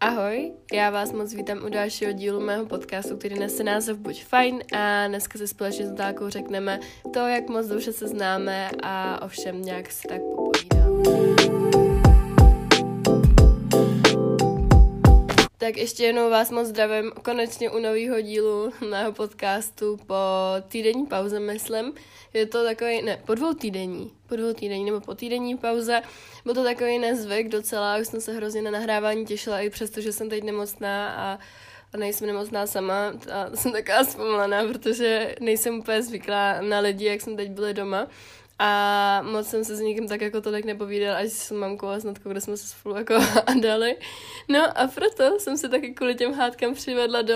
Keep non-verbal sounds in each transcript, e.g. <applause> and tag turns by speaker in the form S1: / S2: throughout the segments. S1: Ahoj, já vás moc vítám u dalšího dílu mého podcastu, který nese název Buď fajn a dneska se společně s Natálkou řekneme to, jak moc dobře se známe a ovšem nějak se tak popovídáme. Tak ještě jednou vás moc zdravím konečně u nového dílu mého podcastu po týdenní pauze, myslím. Je to takový, ne, po dvou týdení, po dvou týdení nebo po týdenní pauze. Byl to takový nezvyk docela, už jsem se hrozně na nahrávání těšila, i přesto, že jsem teď nemocná a, a nejsem nemocná sama. A jsem taková zpomalená, protože nejsem úplně zvyklá na lidi, jak jsme teď byli doma. A moc jsem se s nikým tak jako tolik nepovídal, až s mamkou a snadkou, kde jsme se spolu jako <laughs> dali. No a proto jsem se taky kvůli těm hádkám přivedla do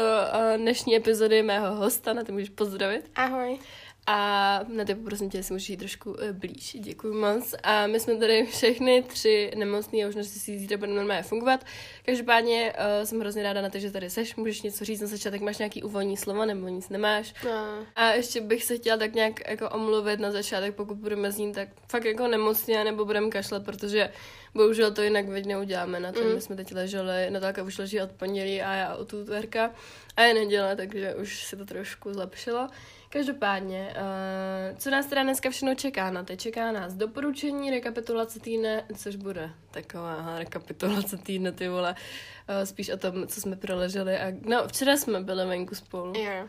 S1: eh, dnešní epizody mého hosta, na ty můžeš pozdravit.
S2: Ahoj.
S1: A na ty poprosím tě, jestli můžeš jít trošku eh, blíž. Děkuji moc. A my jsme tady všechny tři nemocný a už si si zítra bude normálně fungovat. Každopádně eh, jsem hrozně ráda na to, že tady seš. Můžeš něco říct na začátek, máš nějaký úvodní slovo nebo nic nemáš.
S2: No,
S1: A ještě bych se chtěla tak nějak jako omluvit na začátek, pokud budeme znít tak fakt jako nemocně nebo budeme kašlat, protože bohužel to jinak věď neuděláme na to. Mm. My jsme teď leželi, Natálka už leží od pondělí a já od úterka a je neděle, takže už se to trošku zlepšilo. Každopádně, eh, co nás teda dneska všechno čeká? Na to čeká nás doporučení, rekapitulace týdne, což bude taková aha, rekapitulace týdne, ty vole, Eh, spíš o tom, co jsme proleželi. A, no, včera jsme byli venku spolu.
S2: jo.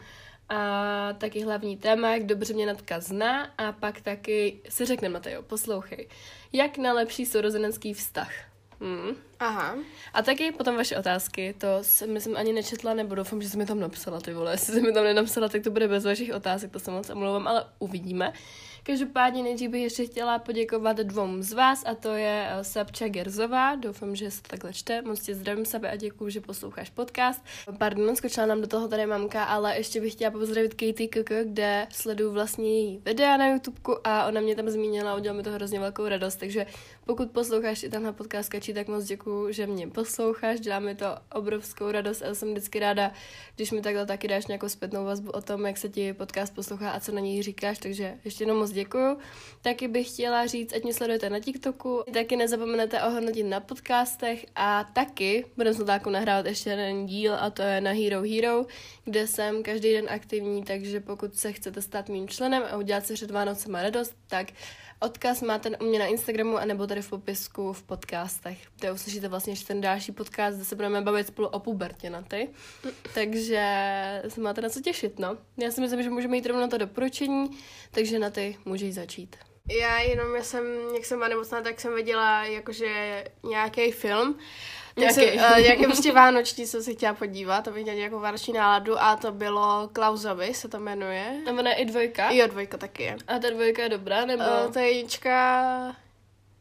S1: A taky hlavní téma, jak dobře mě Natka zná a pak taky si řekne Mateo, poslouchej, jak na lepší sourozenecký vztah. Hmm.
S2: Aha.
S1: A taky potom vaše otázky, to jsem, myslím, ani nečetla, nebo doufám, že jsi mi tam napsala, ty vole, <laughs> jestli jsi mi tam nenapsala, tak to bude bez vašich otázek, to se moc omlouvám, ale uvidíme. Každopádně nejdřív bych ještě chtěla poděkovat dvou z vás a to je eh, Sabča Gerzová, doufám, že se to takhle čte, moc tě zdravím sebe a děkuji, že posloucháš podcast. Pardon, skočila nám do toho tady mamka, ale ještě bych chtěla pozdravit Katie KK, kde sleduju vlastně její videa na YouTube a ona mě tam zmínila a udělala mi to hrozně velkou radost, takže pokud posloucháš i tenhle podcast Kačí, tak moc děkuji, že mě posloucháš, dělá mi to obrovskou radost a jsem vždycky ráda, když mi takhle taky dáš nějakou zpětnou vazbu o tom, jak se ti podcast poslouchá a co na něj říkáš, takže ještě jednou moc děkuju. Taky bych chtěla říct, ať mě sledujete na TikToku, taky nezapomenete ohodnotit na podcastech a taky budeme s Natákou nahrávat ještě jeden díl a to je na Hero Hero, kde jsem každý den aktivní, takže pokud se chcete stát mým členem a udělat si před Vánocem radost, tak Odkaz máte u mě na Instagramu anebo tady v popisku v podcastech. Kde uslyšíte vlastně ještě ten další podcast, kde se budeme bavit spolu o pubertě na ty. Takže se máte na co těšit, no. Já si myslím, že můžeme jít rovnou na to doporučení, takže na ty můžeš začít.
S2: Já jenom, já jsem, jak jsem byla nemocná, tak jsem viděla jakože nějaký film. Tak
S1: Jaký?
S2: jsem, eh, nějaký prostě vánoční jsem se chtěla podívat, abych měla nějakou vánoční náladu a to bylo Klausovi, se to jmenuje.
S1: Tam je i dvojka.
S2: Jo, dvojka taky je.
S1: A ta dvojka je dobrá, nebo...
S2: Uh, ta jednička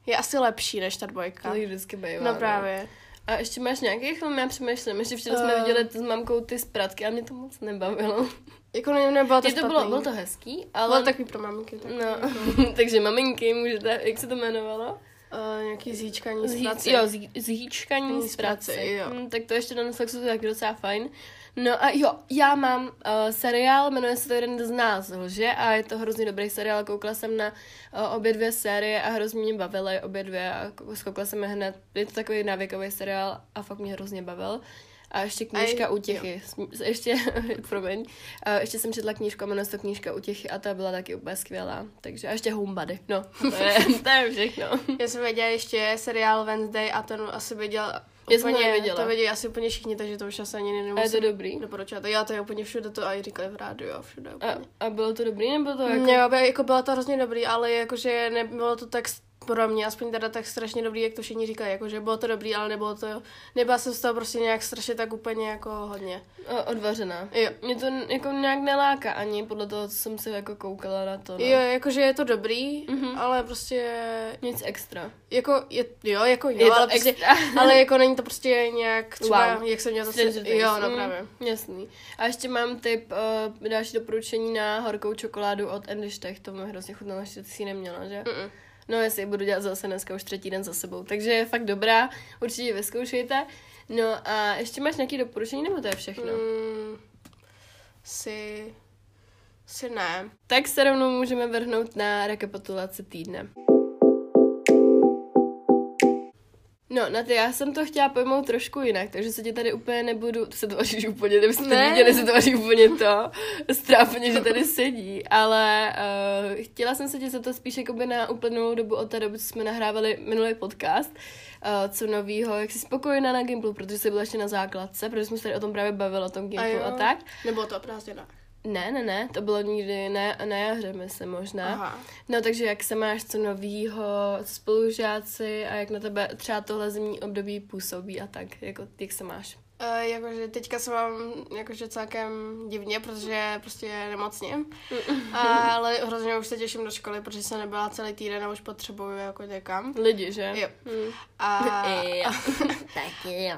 S2: je asi lepší než ta dvojka.
S1: To jí vždycky bývá.
S2: No právě.
S1: A ještě máš nějaký film, já přemýšlím. Ještě včera jsme
S2: Eh.
S1: viděli s mamkou ty zpratky a mě to moc nebavilo.
S2: Jako ne, nebylo to,
S1: Je to bylo, bylo to hezký, ale...
S2: bylo takový pro maminky. Tak.
S1: No, <laughs> takže maminky, můžete, jak se to jmenovalo?
S2: Uh, nějaký zíčkaní z
S1: Zhý-
S2: prací.
S1: Jo, zhý- zhýčkaní
S2: Zhýčkaní
S1: z
S2: z
S1: práce.
S2: práce, jo.
S1: Hmm, tak to ještě na Netflixu to je taky docela fajn. No a jo, já mám uh, seriál, jmenuje se to jeden z nás, že? A je to hrozně dobrý seriál, koukala jsem na uh, obě dvě série a hrozně mě bavily obě dvě a kou- skoukala jsem je hned. Je to takový návykový seriál a fakt mě hrozně bavil. A ještě knížka
S2: A-
S1: Útěchy. Sm- Ještě, <laughs> promiň, uh, ještě jsem četla knížku a jmenuje se to Knížka Útěchy a ta byla taky úplně skvělá. Takže a ještě Homebody, no. To je, to je všechno.
S2: Já jsem viděla ještě seriál Wednesday a ten asi viděl
S1: Já jsem to neviděla.
S2: To viděli asi úplně všichni, takže to už asi ani
S1: <laughs>
S2: nemusím
S1: A je to dobrý? no.
S2: doporučovat. Já to je úplně všude to a i říkali v rádiu a všude úplně.
S1: A, a bylo to dobrý, nebo to jako...
S2: Jako... Jo, by- jako bylo to hrozně dobrý, ale jakože nebylo to tak s- pro mě, aspoň teda tak strašně dobrý, jak to všichni říkají, jakože bylo to dobrý, ale nebylo to, nebyla jsem z toho prostě nějak strašně tak úplně jako hodně.
S1: O, odvařená.
S2: Jo.
S1: Mě to n- jako nějak neláká ani podle toho, co jsem se jako koukala na to. No. Mhm.
S2: Jo, jakože je to dobrý, mm-hmm. ale prostě
S1: Nic extra.
S2: Jako, je, jo, jako jo,
S1: Je to
S2: ale, prostě,
S1: extra.
S2: <laughs> ale jako není to prostě nějak třeba,
S1: Wow.
S2: wow. jak jsem měla zase,
S1: Stranger Things.
S2: jo, no
S1: Mm,
S2: právě.
S1: Jasný. A ještě mám tip, uh, další doporučení na horkou čokoládu od Andy Štech. To mi hrozně chutnalo, ještě ty si ji neměla, že?
S2: Mm-mm.
S1: No, jestli ji budu dělat zase dneska už třetí den za sebou. Takže je fakt dobrá, určitě ji vyzkoušejte. No a ještě máš nějaké doporučení, nebo to je všechno?
S2: Mm, si, si ne.
S1: Tak se rovnou můžeme vrhnout na rekapitulaci týdne. No, na ty, já jsem to chtěla pojmout trošku jinak, takže se ti tady úplně nebudu, to se tvaříš úplně, kdybyste ne.
S2: Ne.
S1: viděli, se tvaří úplně to, strápně, že tady sedí, ale uh, chtěla jsem se tě zeptat spíš jakoby na uplynulou dobu od té doby, co jsme nahrávali minulý podcast, uh, co novýho, jak jsi spokojená na Gimplu, protože jsi byla ještě na základce, protože jsme se tady o tom právě bavili, o tom Gimplu a, a tak.
S2: Nebo to prostě o prázdninách.
S1: Ne, ne, ne, to bylo nikdy na, na jaře, myslím, možná. Aha.
S2: Aha.
S1: No takže jak se máš co novýho, co spolužáci a jak na tebe třeba tohle zimní období působí a tak, jako jak se máš.
S2: Uh, jakože teďka se mám jakože celkem divně, protože prostě nemocním. A, ale hrozně už se těším do školy, protože jsem nebyla celý týden a už potřebuju jako někam.
S1: Lidi, že?
S2: Jo.
S1: Mm.
S2: A,
S1: <laughs> Taky jo.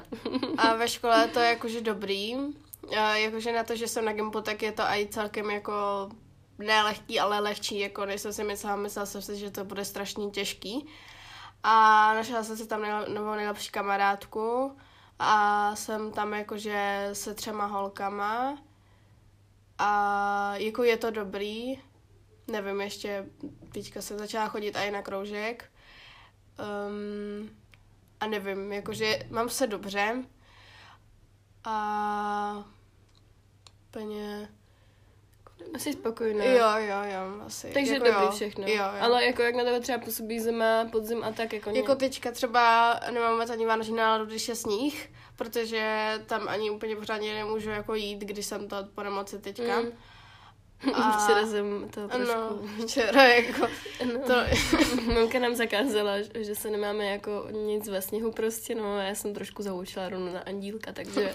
S2: a ve škole to je jakože dobrý. A jakože na to, že jsem na Gimpu, tak je to i celkem jako nelehký, ale lehčí, jako než jsem si myslela, myslela jsem si, že to bude strašně těžký. A našla jsem si tam nejle- novou nejlepší kamarádku a jsem tam jakože se třema holkama a jako je to dobrý, nevím, ještě teďka jsem začala chodit i na kroužek um, a nevím, jakože mám se dobře a úplně,
S1: Jsi spokojená.
S2: jo, jo, jo, asi.
S1: Takže
S2: jako
S1: dobrý
S2: jo.
S1: všechno.
S2: Jo, jo.
S1: Ale jako jak na tebe třeba působí zima, podzim a tak, jako,
S2: Jako teďka třeba nemám moc ani vánoční náladu, když je sníh, protože tam ani úplně pořádně nemůžu jako jít, když jsem to po nemoci teďka.
S1: Mm. <laughs>
S2: Mm.
S1: a... Včera jsem to trošku... <laughs> No,
S2: No, včera jako to...
S1: Mamka nám zakázala, že- že se nemáme jako nic ve sněhu prostě, no a já jsem trošku zaučila rovnou na andílka,
S2: <laughs>
S1: takže,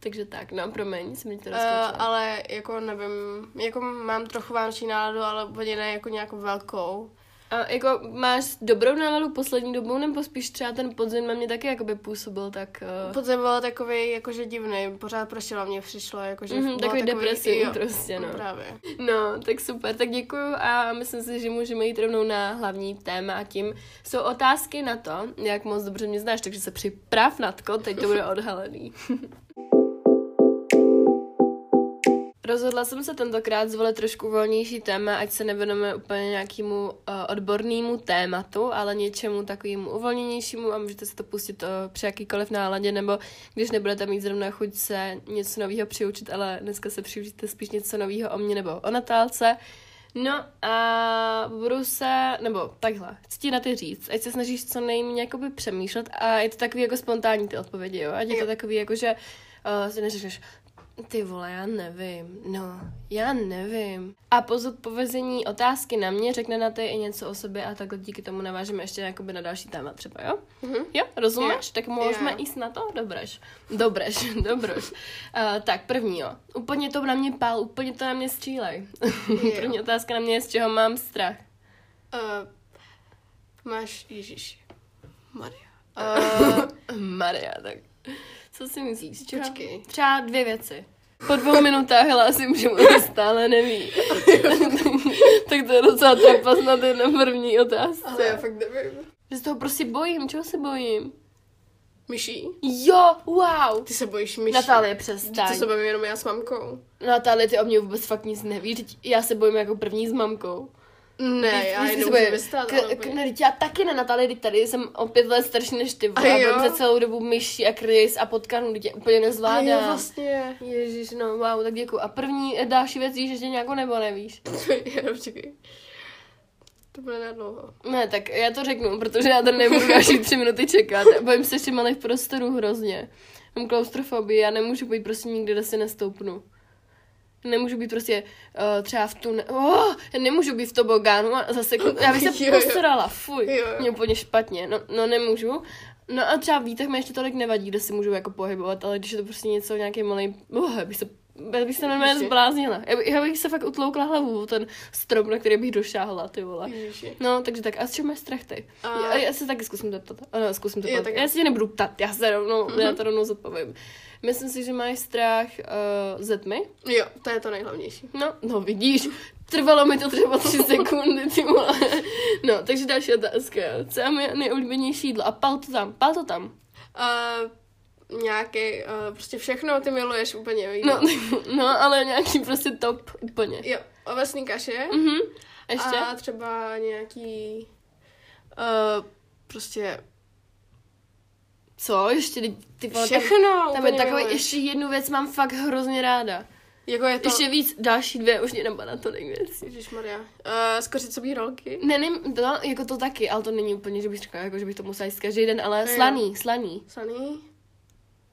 S1: takže tak, no promiň, jsem mi to rozkočila.
S2: Uh, ale jako nevím, jako mám trochu vánoční náladu, ale úplně ne jako nějakou velkou.
S1: A jako máš dobrou náladu poslední dobou, nebo spíš třeba ten podzim na mě taky jakoby působil, tak... Uh,
S2: Podzim byl takový jakože jako, divný, pořád pršelo mě přišlo, jakože
S1: Mhm,
S2: bylo
S1: takový depresivní prostě, no.
S2: Právě.
S1: no, tak super, tak děkuju a myslím si, že můžeme jít rovnou na hlavní téma a tím jsou otázky na to, jak moc dobře mě znáš, takže se připrav na tko, teď to bude odhalený. Rozhodla jsem se tentokrát zvolit trošku volnější téma, ať se nevěnujeme úplně nějakému uh, odbornému tématu, ale něčemu takovému uvolněnějšímu a můžete si to pustit uh, při jakýkoliv náladě, nebo když nebudete mít zrovna chuť se něco nového přiučit, ale dneska se přiučíte spíš něco nového o mně nebo o Natálce. No a budu se, nebo takhle, chci ti na ty říct, ať se snažíš co nejméně jakoby přemýšlet a je to takový jako spontánní ty odpovědi, jo? Ať je to
S2: Jo.
S1: takový jako, že uh, si neřekneš, ty vole, já nevím, no, já nevím. A po zodpovězení otázky na mě řekne na ty i něco o sobě a takhle díky tomu navážeme ještě jakoby na další téma třeba, jo?
S2: Mhm.
S1: Jo, rozumíš? Tak můžeme
S2: Jo.
S1: jíst na to? Dobreš. Dobreš, <laughs> dobroš. Uh, tak, první jo. Úplně to na mě pál, úplně to na mě střílej.
S2: Jo.
S1: <laughs> první otázka na mě je, z čeho mám strach.
S2: Uh, máš Ježíš. Maria.
S1: Eh, <laughs>
S2: Uh,
S1: Maria, tak co si myslíš? z čeho?
S2: Počkej.
S1: Třeba dvě věci. Po dvou minutách hlásím, že mu to stále <laughs> neví. tak to je docela trapas na té na první
S2: ale
S1: otázce.
S2: já fakt nevím.
S1: Že z toho prostě bojím, čeho se bojím?
S2: Myší?
S1: Jo, wow!
S2: Ty se bojíš myší?
S1: Natálie,
S2: To
S1: přestaň.
S2: se bavím jenom já s mamkou.
S1: Natálie, ty o mě vůbec fakt nic nevíš. vždyť Já se bojím jako první s mamkou.
S2: Ne, já
S1: Vždyť
S2: je
S1: se
S2: nemůžu
S1: bojím.
S2: vystát.
S1: K-
S2: ale
S1: k-
S2: úplně-
S1: ne, vždyť já taky ne, Natálie, teď tady jsem o pět let starší než ty. vole,
S2: A
S1: A
S2: jo?
S1: bym se celou dobu myší a kryjs a potkanu, teď tě úplně
S2: A
S1: nezvládám.
S2: jo, vlastně. <laughs>
S1: Ježíš, no wow, tak děkuji. A první eh, další věc víš ještě nějakou nebo nevíš?
S2: Já počkej. To bude na dlouho.
S1: Ne, tak já to řeknu, protože já tady nebudu další tři minuty čekat. Bojím se ještě malých prostorů hrozně. Mám klaustrofobii, já nemůžu být prostě nikde, kde si nestoupnu. Nemůžu být prostě uh, třeba v tu... Oh, já nemůžu být v tobogánu a zase... Já bych se
S2: <laughs> Jo, jo.
S1: posrala, fuj.
S2: Jo, jo.
S1: Mě úplně špatně. No, no nemůžu. No a třeba výtah mi ještě tolik nevadí, kde si můžu jako pohybovat, ale když je to prostě něco, nějaký malý... Oh, já bych se já bych se normálně
S2: Ježiši.
S1: zbláznila. Já, by, já bych se fakt utloukla hlavu o ten strop, na který bych došáhla, ty vole.
S2: Ježíši.
S1: No, takže tak. A z čeho máš strach ty?
S2: A-
S1: Já, já se taky zkusím zeptat. Ano, zkusím to
S2: Jo,
S1: ptat.
S2: tak- Mhm.
S1: Já se tě nebudu ptat, já se rovnou, já to rovnou zodpovím. Myslím si, že máš strach uh, ze tmy?
S2: Jo, to je to nejhlavnější.
S1: No, no vidíš, trvalo mi to třeba
S2: <laughs>
S1: tři sekundy, ty vole. No, takže další otázka. Co je moje nejoblíbenější jídlo? A pal to tam, pal to tam.
S2: Uh, nějaký, uh, prostě všechno ty miluješ úplně, víš?
S1: No, <laughs> no, ale nějaký prostě top úplně.
S2: Jo, ovesný kaše.
S1: Mhm. Ještě?
S2: A eh, třeba nějaký, uh, prostě,
S1: Co? Ještě ty- ty vole, tam-
S2: Všechno,
S1: Tam je
S2: no, úplně
S1: takový,
S2: miluješ.
S1: ještě jednu věc mám fakt hrozně ráda.
S2: Jako je to...
S1: Ještě víc, další dvě, už mě napadá tolik věcí.
S2: Ježišmarja. Uh, z kořicový rolky.
S1: Ne, ne, no, jako to taky, ale to není úplně, že bych řekla, jako, že bych to musela jíst každý den, ale
S2: Jo.
S1: slaný, slaný.
S2: Saný.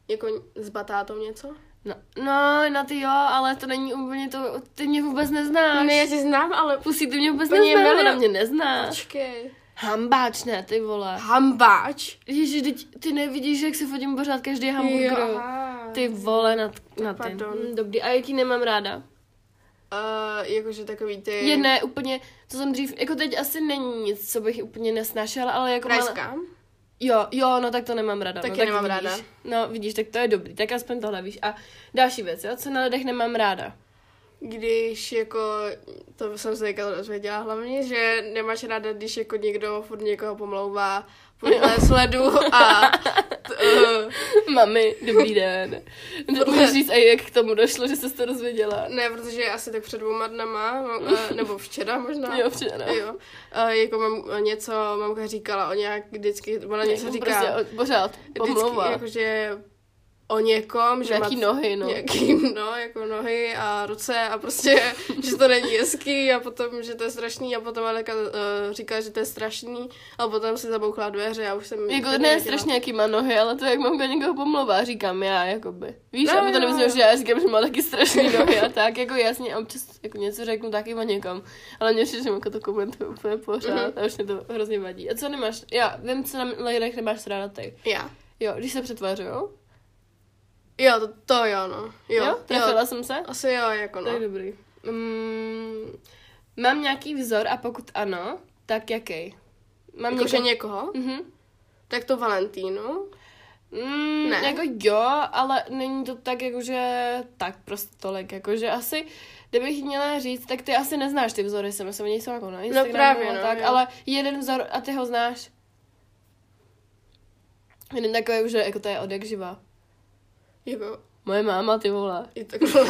S2: Jako s batátou něco?
S1: No, no, na ty jo, ale to není úplně to, ty mě vůbec neznáš.
S2: No, Ne, já tě znám, ale...
S1: Pusí, ty mě vůbec
S2: To mě
S1: neznáš,
S2: miluje.
S1: ona mě neznáš.
S2: Počkej.
S1: Hambáč, ne, ty vole.
S2: Hambáč.
S1: Ježiš, teď ty nevidíš, jak se fotím pořád každý
S2: Jo,
S1: hamburger.
S2: aha.
S1: Ty vole, na, na ty.
S2: Pardon.
S1: Hm, Dobrý, a jaký nemám ráda?
S2: Uh, jakože takový ty...
S1: Je ne, úplně, co jsem dřív, jako teď asi není nic, co bych úplně nesnášela, ale jako malá-
S2: Rajská.
S1: Jo, jo, no tak to nemám ráda.
S2: Taky
S1: no, tak
S2: nemám
S1: vidíš.
S2: ráda.
S1: No vidíš, tak to je dobrý, tak aspoň tohle víš. A další věc, jo, co na lidech nemám ráda. <laughs>
S2: Když jako, to jsem se teďka dozvěděla hlavně, že nemáš ráda, když jako někdo furt někoho pomlouvá, podle <laughs> sledu a t, uh,
S1: Mami, dobrý
S2: <laughs>
S1: den. Můžu říct, a jak k tomu došlo, že jsi to dozvěděla.
S2: ne, protože asi tak před dvouma dnama, mám, eh, nebo včera možná.
S1: Jo, no. včera.
S2: Jo, Eh, jako mám něco, mamka říkala o nějak vždycky, ona něco
S1: Jako
S2: říká.
S1: Prostě o- pořád pomlouvá.
S2: Vždycky, jakože o někom, že
S1: Nějaký
S2: má
S1: nohy, no.
S2: Nějaký, <laughs> no, jako nohy a ruce a prostě, <laughs> že to není hezký a potom, že to je strašný a potom Aleka uh, říká, že to je strašný a potom si zabouchla dveře a už jsem...
S1: Jako ne strašně jaký má nohy, ale to jak mamka někoho pomlouvá, říkám já, jakoby. Víš,
S2: No,
S1: no, aby to
S2: jo.
S1: nevyznělo, že já říkám, že má taky strašný nohy a tak, jako jasně, občas jako něco řeknu taky o někom, ale mě přijde, že mamka to komentuje úplně pořád a už mě to hrozně vadí. A co nemáš, já vím, co na lidech nemáš ráda ty.
S2: Já.
S1: Jo, když se přetvářujou,
S2: Jo, to, to jo, no. Jo,
S1: jo, trefila jsem se,
S2: Asi jo, jako
S1: to
S2: no.
S1: je dobrý. Mm, mám nějaký vzor a pokud ano, tak jaký? Mám
S2: Jakože
S1: někoho-
S2: někoho?
S1: Mhm.
S2: Tak to Valentínu.
S1: Mm,
S2: Ne?
S1: ne. Jako jo, ale není to tak jakože tak prostě tolik, jakože asi, kdybych měla říct, tak ty asi neznáš ty vzory, si myslím, oni jsou jako na Instagramu
S2: právě,
S1: a
S2: no,
S1: tak,
S2: jo.
S1: ale jeden vzor a ty ho znáš. Jeden takový, že jako to je od jak živa. <laughs>
S2: Jako, <laughs>
S1: Moje máma, ty vole.
S2: i takhle.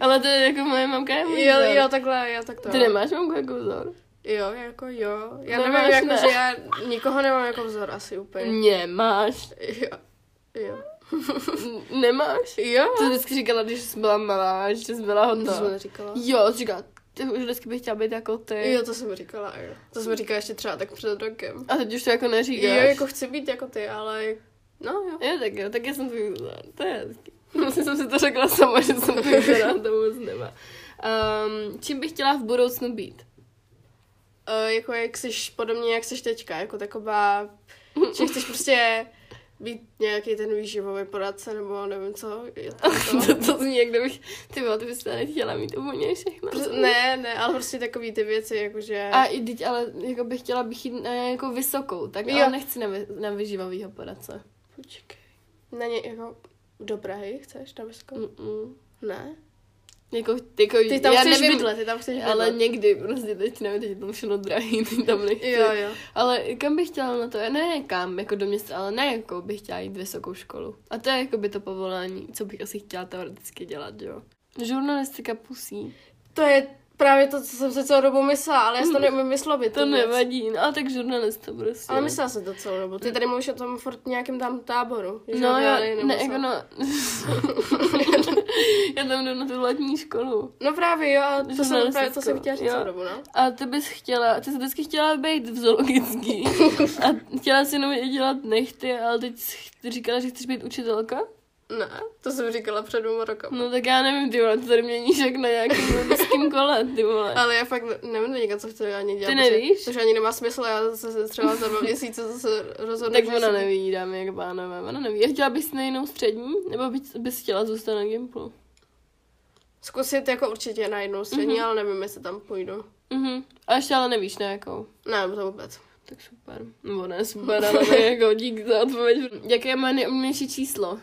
S1: Ale to je jako moje mamka je můj
S2: jo,
S1: vzor.
S2: jo, takhle, jo, tak to.
S1: Ty nemáš mamku jako vzor?
S2: Jo, jako jo. Já
S1: Nemáš,
S2: nevím, jako,
S1: ne. Mm.
S2: že já nikoho nemám jako vzor asi úplně. <laughs>
S1: Nemáš.
S2: Jo. Jo.
S1: N- Nemáš.
S2: Jo.
S1: To vždycky říkala, když jsi byla malá, že jsi byla
S2: To
S1: hodná.
S2: jsem neříkala.
S1: Jo, říká, ty už vždycky bych chtěla být jako ty.
S2: Jo, to jsem říkala, jo. To jsem říkala ještě třeba tak před rokem.
S1: A teď už to jako
S2: Jo,
S1: neříkáš.
S2: jako chci být jako ty, ale... No jo.
S1: Jo, tak jo, tak já jsem tvůj vzor. To je hezký. <laughs> Myslím, jsem si to řekla sama, že jsem tvůj vzor, ale to vůbec nemá. Um, čím bych chtěla v budoucnu být?
S2: Uh, jako jak jsi podobně, jak jsi teďka, jako taková... Že chceš prostě být nějaký ten výživový poradce, nebo nevím co. Je
S1: <laughs>
S2: to, to.
S1: to, to zní, jak kdybych, ty vole, ty bys to nechtěla mít úplně všechno.
S2: Prostě, ne, ne, ale prostě takový ty věci, jakože...
S1: A i teď, ale jako bych chtěla bych jít na nějakou vysokou, tak jo.
S2: Jo.
S1: ale nechci na, vy, na vyživovýho poradce.
S2: Počkej. Na ně jako... Do Prahy chceš, na Vysko?
S1: Mm-mm.
S2: Ne.
S1: Jako, jako,
S2: Jako- Ty tam
S1: já
S2: chceš
S1: nevím,
S2: bydlet, ty tam chceš bydlet.
S1: ale někdy, prostě teď nevím, teď je to všechno drahý, teď tam nechci.
S2: Jo, jo.
S1: Ale kam bych chtěla na to? Ne kam, jako do města, ale na jakou bych chtěla jít vysokou školu. A to je jako by to povolání, co bych asi chtěla teoreticky dělat, jo. Žurnalistika pusí.
S2: To je právě to, co jsem se celou dobu myslela, ale já si to neumím vyslovit.
S1: To
S2: tu věc.
S1: nevadí, no a tak žurnalista prostě.
S2: Ale myslela jsem to celou dobu. Ty tady mluvíš o tom furt nějakém tam táboru. že
S1: No
S2: žádný
S1: jo, ne,
S2: nemusel.
S1: jako no. <laughs> Já tam jdu na tu letní školu.
S2: No právě jo, a to jsem,
S1: Žurnalistickou,
S2: právě to jsem chtěla říct
S1: jo.
S2: celou dobu, no.
S1: A ty bys chtěla, ty jsi vždycky chtěla být v <laughs> zoologický. A chtěla si jenom i dělat nechty, ale teď jsi říkala, že chceš být učitelka?
S2: Ne, to jsem říkala před dvěma rokama.
S1: No tak já nevím, ty vole, to tady měníš jak na nějakém logickém kole, ty vole.
S2: Ale já fakt ne- nevím teďka, co chci ani dělat.
S1: Ty
S2: protože-
S1: nevíš?
S2: Protože ani nemá smysl, já zase třeba za dva měsíce zase rozhodnu.
S1: Tak
S2: že
S1: ona
S2: si-
S1: neví, dámy jak pánové, ona neví. A chtěla bys na jinou střední, nebo bys, bys chtěla zůstat na Gimplu?
S2: Zkusit jako určitě na jednou střední, ale nevím, jestli tam půjdu.
S1: Mhm. A ještě ale nevíš na jakou.
S2: Ne, to vůbec.
S1: Tak super. Nebo ne super, ale tak jako dík za odpověď. Jaké má nejumnější číslo?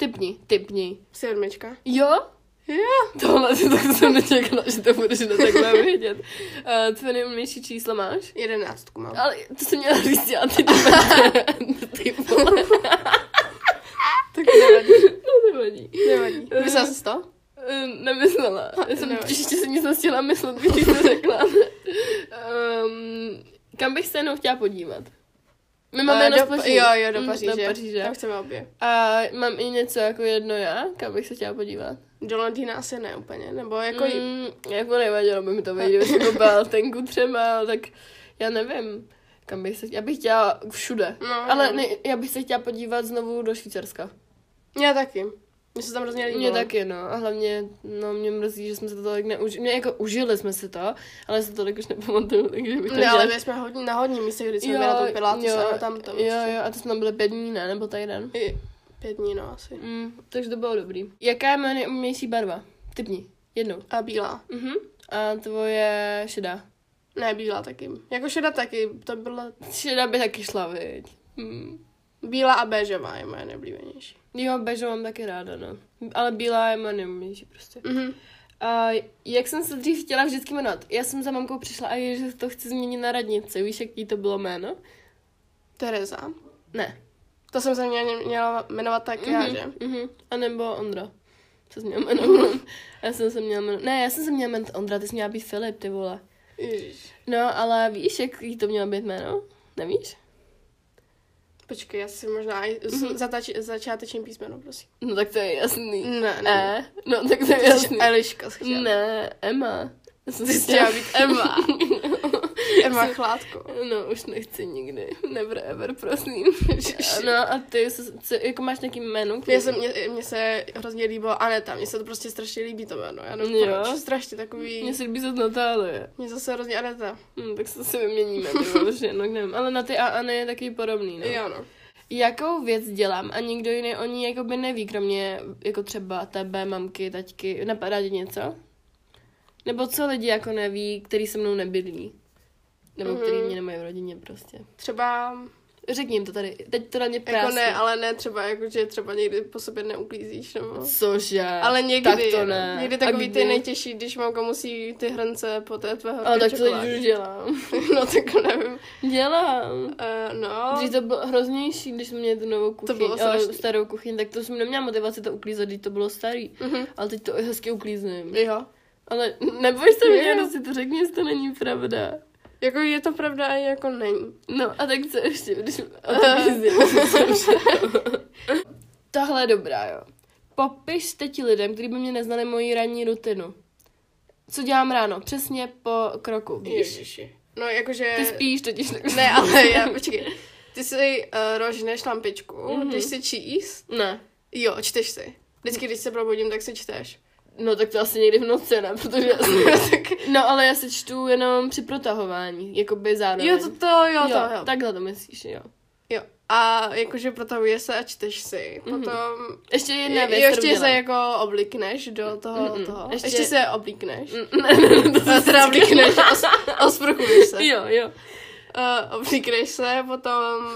S1: Typni, typni.
S2: Sedmička.
S1: Jo?
S2: Jo.
S1: Tohle si tak jsem nečekala, že to budeš na takhle vědět. Uh, tvé nejumnější číslo máš?
S2: Jedenáctku mám.
S1: Ale to jsem měla říct, já ty dvě- ty
S2: <laughs>
S1: vole.
S2: Tak nevadí.
S1: No, nevadí.
S2: Nevadí. Myslela jsi to?
S1: Eh, Nemyslela. Já jsem
S2: Nevadí.
S1: příště si nic nestihla myslet,
S2: <laughs>
S1: Ehm, když to řekla. um, kam bych se jenom chtěla podívat? My máme
S2: Eh,
S1: jedno z
S2: do,
S1: Paříže.
S2: Jo, jo, do
S1: Mm,
S2: Paříže.
S1: Do Paříže.
S2: Tam chceme obě.
S1: A mám i něco jako jedno já, kam bych se chtěla podívat.
S2: Do Londýna asi ne úplně, nebo jako... Mm.
S1: Mm, jako nevadilo by mi
S2: <laughs>
S1: to vejít, kdyby jsem to byla ten kutřema, tak já nevím, kam bych se chtěla. Já bych chtěla všude.
S2: No,
S1: Ale
S2: no.
S1: ne, já bych se chtěla podívat znovu do Švýcarska.
S2: Já taky. Mně se tam hrozně líbilo.
S1: Mě taky, no. A hlavně, no, mě mrzí, že jsme se to tolik neužili. Mě jako užili jsme si to, ale se to tolik už nepamatuju, takže bych to
S2: Ne, ale
S1: chtěla-
S2: my jsme hodně, na hodním místě, kdy jsme byli na tom Pilatus a na tam to. prostě-
S1: jo, jo, a to jsme tam byli pět dní, ne? Nebo týden.
S2: I pět dní, no asi.
S1: Mm, takže to bylo dobrý. Jaká je moje nejumější barva? Typni. Jednou.
S2: A bílá.
S1: Mhm. A tvoje šedá.
S2: Ne, bílá taky. Jako šeda taky, to byla
S1: Šedá by taky šla, viď? Mm.
S2: bílá a béžová je moje nejoblíbenější.
S1: Jo, bežovou mám taky ráda, no. Ale bílá je moje nejumější prostě.
S2: Mhm.
S1: A Eh, jak jsem se dřív chtěla vždycky jmenovat? Já jsem za mamkou přišla a je, že to chci změnit na radnici. Víš, jaký to bylo jméno?
S2: Tereza.
S1: Ne.
S2: To jsem se měla, měla jmenovat tak mm-hmm. já, že?
S1: Mhm. A nebo Ondra. Co jsi měl jmenovat? <laughs> já jsem se měla jmenovat. Ne, já jsem se měla jmenovat Ondra, ty jsi měla být Filip, ty vole.
S2: Ježiš.
S1: No, ale víš, jaký to mělo být jméno? Nevíš?
S2: Počkej, já si možná i
S1: Mhm.
S2: mm-hmm. zatači, začáteční písmeno, prosím.
S1: No tak to je jasný.
S2: Ne, ne.
S1: E? No tak to
S2: Ty
S1: je
S2: jsi
S1: jasný.
S2: Eliška jsi chtěla.
S1: Ne, Emma. Já jsem si
S2: chtěla
S1: chtěla
S2: být
S1: být
S2: Emma.
S1: Emma. <laughs>
S2: Emma Chládko.
S1: No, už nechci nikdy. Never ever, prosím.
S2: Ježiš.
S1: <laughs> No a ty, co- co- jako máš nějaký jméno? který-
S2: Mně se, mě, mě se hrozně líbilo Aneta, mně se to prostě strašně líbí to jméno, já nevím
S1: Jo.
S2: proč, strašně takový,
S1: Mně se líbí zase Natálie.
S2: mně zase hrozně Aneta,
S1: Hm, tak se si vyměníme, ty vole, že no, nevím. Ale na ty a Anny je taky podobný, no.
S2: jo no.
S1: Jakou věc dělám a nikdo jiný o ní jako by neví, kromě jako třeba tebe, mamky, taťky, napadá ti něco? Nebo co lidi jako neví, který se mnou nebydlí? Nebo
S2: Mhm.
S1: mm. který mě nemají v rodině prostě.
S2: Třeba,
S1: Řekni jim to tady, teď to na mě
S2: jako
S1: prásně.
S2: ne, ale ne třeba, jako, že třeba někdy po sobě neuklízíš, nebo...
S1: Cože?
S2: Ale někdy,
S1: tak to ne.
S2: někdy
S1: A
S2: takový
S1: kdy?
S2: ty nejtěžší, když mamka musí ty hrnce po té tvé horké
S1: Ale tak to
S2: čokoládě.
S1: teď už dělám.
S2: <laughs> No tak nevím.
S1: <laughs> Dělám.
S2: Uh, no,
S1: Dřív to bylo hroznější, když jsme měli tu novou kuchyň,
S2: bylo
S1: eh,
S2: strašný.
S1: starou kuchyň, tak to jsem neměla motivaci to uklízet, když to bylo starý.
S2: Mhm.
S1: Ale teď to hezky uklízím.
S2: jo.
S1: Ale neboj se mě,
S2: Jo.
S1: jenom si to řekni, jestli to není pravda.
S2: Jako je to pravda a jako není.
S1: No a tak co ještě, když
S2: Eh.
S1: <laughs> Tahle je dobrá, jo. Popište ti lidem, kteří by mě neznali moji ranní rutinu. Co dělám ráno? Přesně po kroku, víš?
S2: Ježiši. No jakože...
S1: Ty spíš totiž tak.
S2: Ne, ale já, počkej. Ty si uh, rožneš lampičku, mm-hmm.
S1: Mhm.
S2: jdeš si číst.
S1: Ne.
S2: Jo, čteš si. Vždycky, když se probudím, tak si čteš.
S1: No tak to asi někdy v noci, ne? Protože...
S2: <laughs> tak,
S1: No ale já se čtu jenom při protahování, jakoby zároveň.
S2: jo, to to, jo, jo, to, jo. Tak...
S1: Takhle to myslíš, jo.
S2: jo. A jakože protahuje se a čteš si. Potom... Mm-hmm.
S1: Ještě jedna věc,
S2: jo,
S1: kterou
S2: ještě se
S1: dělám.
S2: jako oblíkneš do toho,
S1: Mm, mm.
S2: toho. Ještě,
S1: Ještě- Mhm.
S2: ještě se oblíkneš.
S1: Ne, to
S2: Mm. <laughs> Teda oblíkneš, os,
S1: <laughs>
S2: osprchuješ se.
S1: Jo, jo.
S2: Uh, oblíkneš se, potom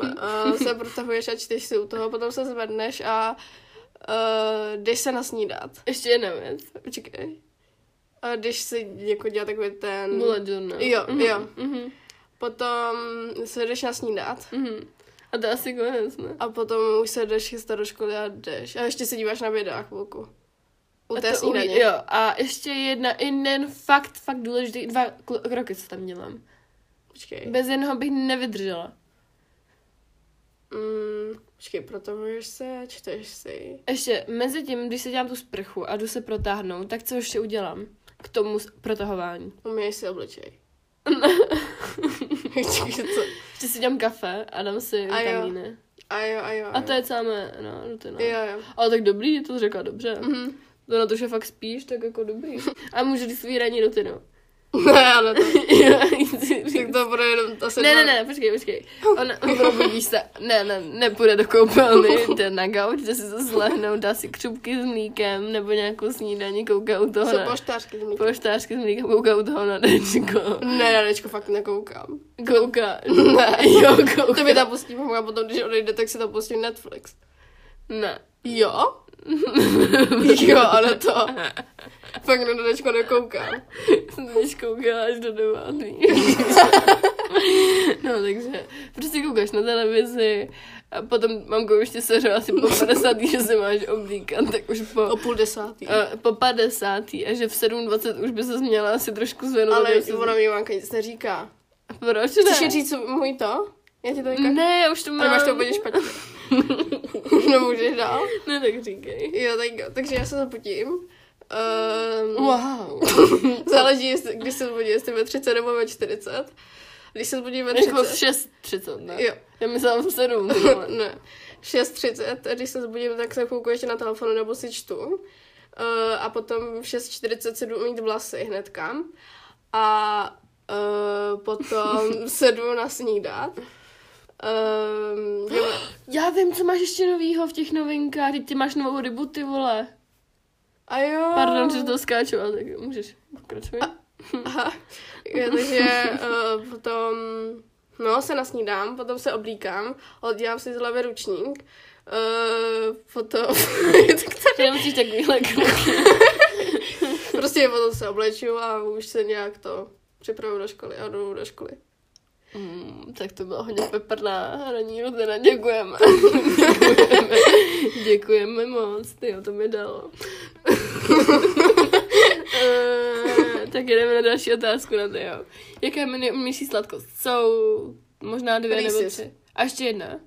S2: uh, se protahuješ a čteš si u toho, potom se zvedneš a uh, jdeš se nasnídat.
S1: Ještě jedna věc.
S2: Počkej. A když si jako dělá takový ten...
S1: Bullet journal.
S2: Jo,
S1: Mhm,
S2: jo.
S1: mhm,
S2: Potom se jdeš nasnídat
S1: mhm. A to asi konec, ne?
S2: a potom už se jdeš chystat do školy a jdeš. A ještě se díváš na videa chvilku. U
S1: A
S2: té
S1: to
S2: snídaně.
S1: uvidí- Jo, a ještě jedna, jeden fakt, fakt důležitý, dva kl- kroky, co tam dělám.
S2: Počkej.
S1: Bez jednoho bych nevydržela.
S2: Mm, počkej, protahuješ se, čteš si.
S1: Ještě mezi tím, když se dělám tu sprchu a jdu se protáhnout, tak co ještě udělám k tomu s- protahování?
S2: Uměješ
S1: <laughs>
S2: si obličej. <laughs> Počkej, co?
S1: Ještě si dělám kafe a dám si
S2: A jo.
S1: vitamíny.
S2: A jo, a jo.
S1: A to je celá moje, no, rutina.
S2: Jo, jo.
S1: Ale tak dobrý, to řekla dobře.
S2: Mhm. <laughs>
S1: To na to, že fakt spíš, tak jako dobrý. A můžu říct svý ranní <laughs> rutinu.
S2: Ne, ale to,
S1: Jo, chci říct.
S2: tak to bude jenom asi...
S1: Ne,
S2: dva-
S1: ne, ne, počkej, počkej. <laughs> Ona probudí se, ne, ne, nepůjde do koupelny, jde na gauč, jde si se slehnout, dá si křupky s mlíkem nebo nějakou snídaní, kouká u toho
S2: Jsou
S1: na...
S2: poštářky. z mlíka.
S1: Poštářky s mlíkem, kouká u toho na dečko.
S2: Ne, na dečko fakt nekoukám. <laughs>
S1: Kouká. Ne, jo, kouká.
S2: To mi tam pustí mamka, a potom, když odejde, tak si tam pustí Netflix.
S1: Ne. <laughs>
S2: Jo? <laughs> jo, ale to. Fakt na dodečko nekoukám.
S1: Když kouká až do devátý.
S2: <laughs>
S1: No, takže prostě koukáš na televizi a potom mamku ještě seřela asi po 50, že se máš oblíkat, tak už po...
S2: O půl desátý.
S1: Eh, po 50. a že v 7.20 už by se měla asi trošku zvěnovat.
S2: ale
S1: jak se-
S2: ona mi mamka nic neříká.
S1: Proč
S2: Chceš
S1: ne?
S2: jí říct co- můj to? Já ti to říkám.
S1: Ne, už to mám.
S2: Ale máš to úplně špatně. <laughs> Nemůžeš dál.
S1: Ne, tak říkej.
S2: Jo, tak, jo, takže já se zapotím. Um,
S1: Wow.
S2: <laughs> Záleží, jestli, když se zbudí, jestli ve 30 nebo ve 40. Když se zbudí ve
S1: Jako
S2: 30,
S1: 6.30, ne?
S2: Jo.
S1: Já myslela v 7.
S2: ne, 6.30, a když se zbudím, tak se kouknu ještě na telefonu nebo si čtu. Uh, a potom v 6.40 jdu umít vlasy hnedka. A uh,
S1: <laughs>
S2: potom se jdu na snídat. Um, jo,
S1: Já vím, co máš ještě novýho v těch novinkách. Teď ty máš novou rybu, ty vole.
S2: a jo.
S1: Pardon, že to skáču, ale tak můžeš pokračovat.
S2: Aha. Jo, takže uh, potom, no, se nasnídám, potom se oblíkám, oddělám si z hlavy ručník, uh, potom, <laughs> tak tady,
S1: Ty nemusíš takovýhle kroky.
S2: prostě potom se obleču a už se nějak to připravu do školy a jdu do školy.
S1: Mm, tak to byla hodně peprná ranní rutina, děkujeme. děkujeme. Děkujeme moc, ty to mi dalo. Eh, tak jdeme na další otázku na Teo. Jaká nejmenší sladkost? Jsou možná dvě nebo
S2: Reese's.
S1: tři. A ještě jedna.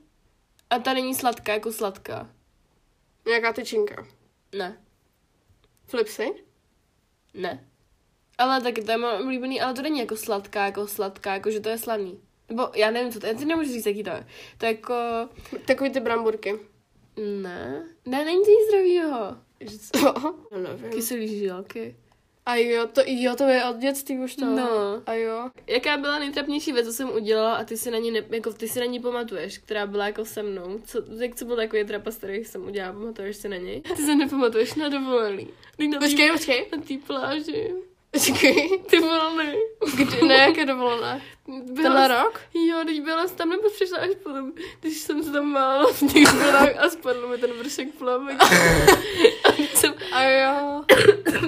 S1: A ta není sladká jako sladká.
S2: Nějaká tyčinka.
S1: Ne,
S2: Flipsy?
S1: ne. Ale taky to je mám oblíbený, ale to není jako sladká, jako sladká, jako že to je slaný. Nebo já nevím, co to je, já ti nemůžu říct, jaký to je. To je jako...
S2: Takový ty bramburky.
S1: Ne, ne, není to nic zdravýho.
S2: Že co? No, nevím.
S1: Kyselý žilky.
S2: A jo, to, jo, to je od dětství už to.
S1: No.
S2: A jo.
S1: Jaká byla nejtrapnější věc, co jsem udělala a ty si na ní, ne, jako, ty si na ní pamatuješ, která byla jako se mnou? Co, jak co byl takový trapas, který jsem udělala, pamatuješ si na něj? Ty se nepamatuješ na dovolený. Ty na tý,
S2: Počkej, počkej.
S1: na tý pláži.
S2: Počkej.
S1: Ty volny.
S2: Kdy, ne, jaké dovolené? Tenhle rok?
S1: Jo, teď byla jsi tam, nebo přišla až potom, když jsem se tam mála v těch horách a spadl mi ten vršek plavek. a když jsem,
S2: A jo.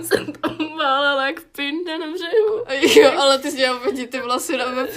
S1: jsem tam málela jak pinda na břehu.
S2: A Jo, ale ty jsi měla hodit ty vlasy na web.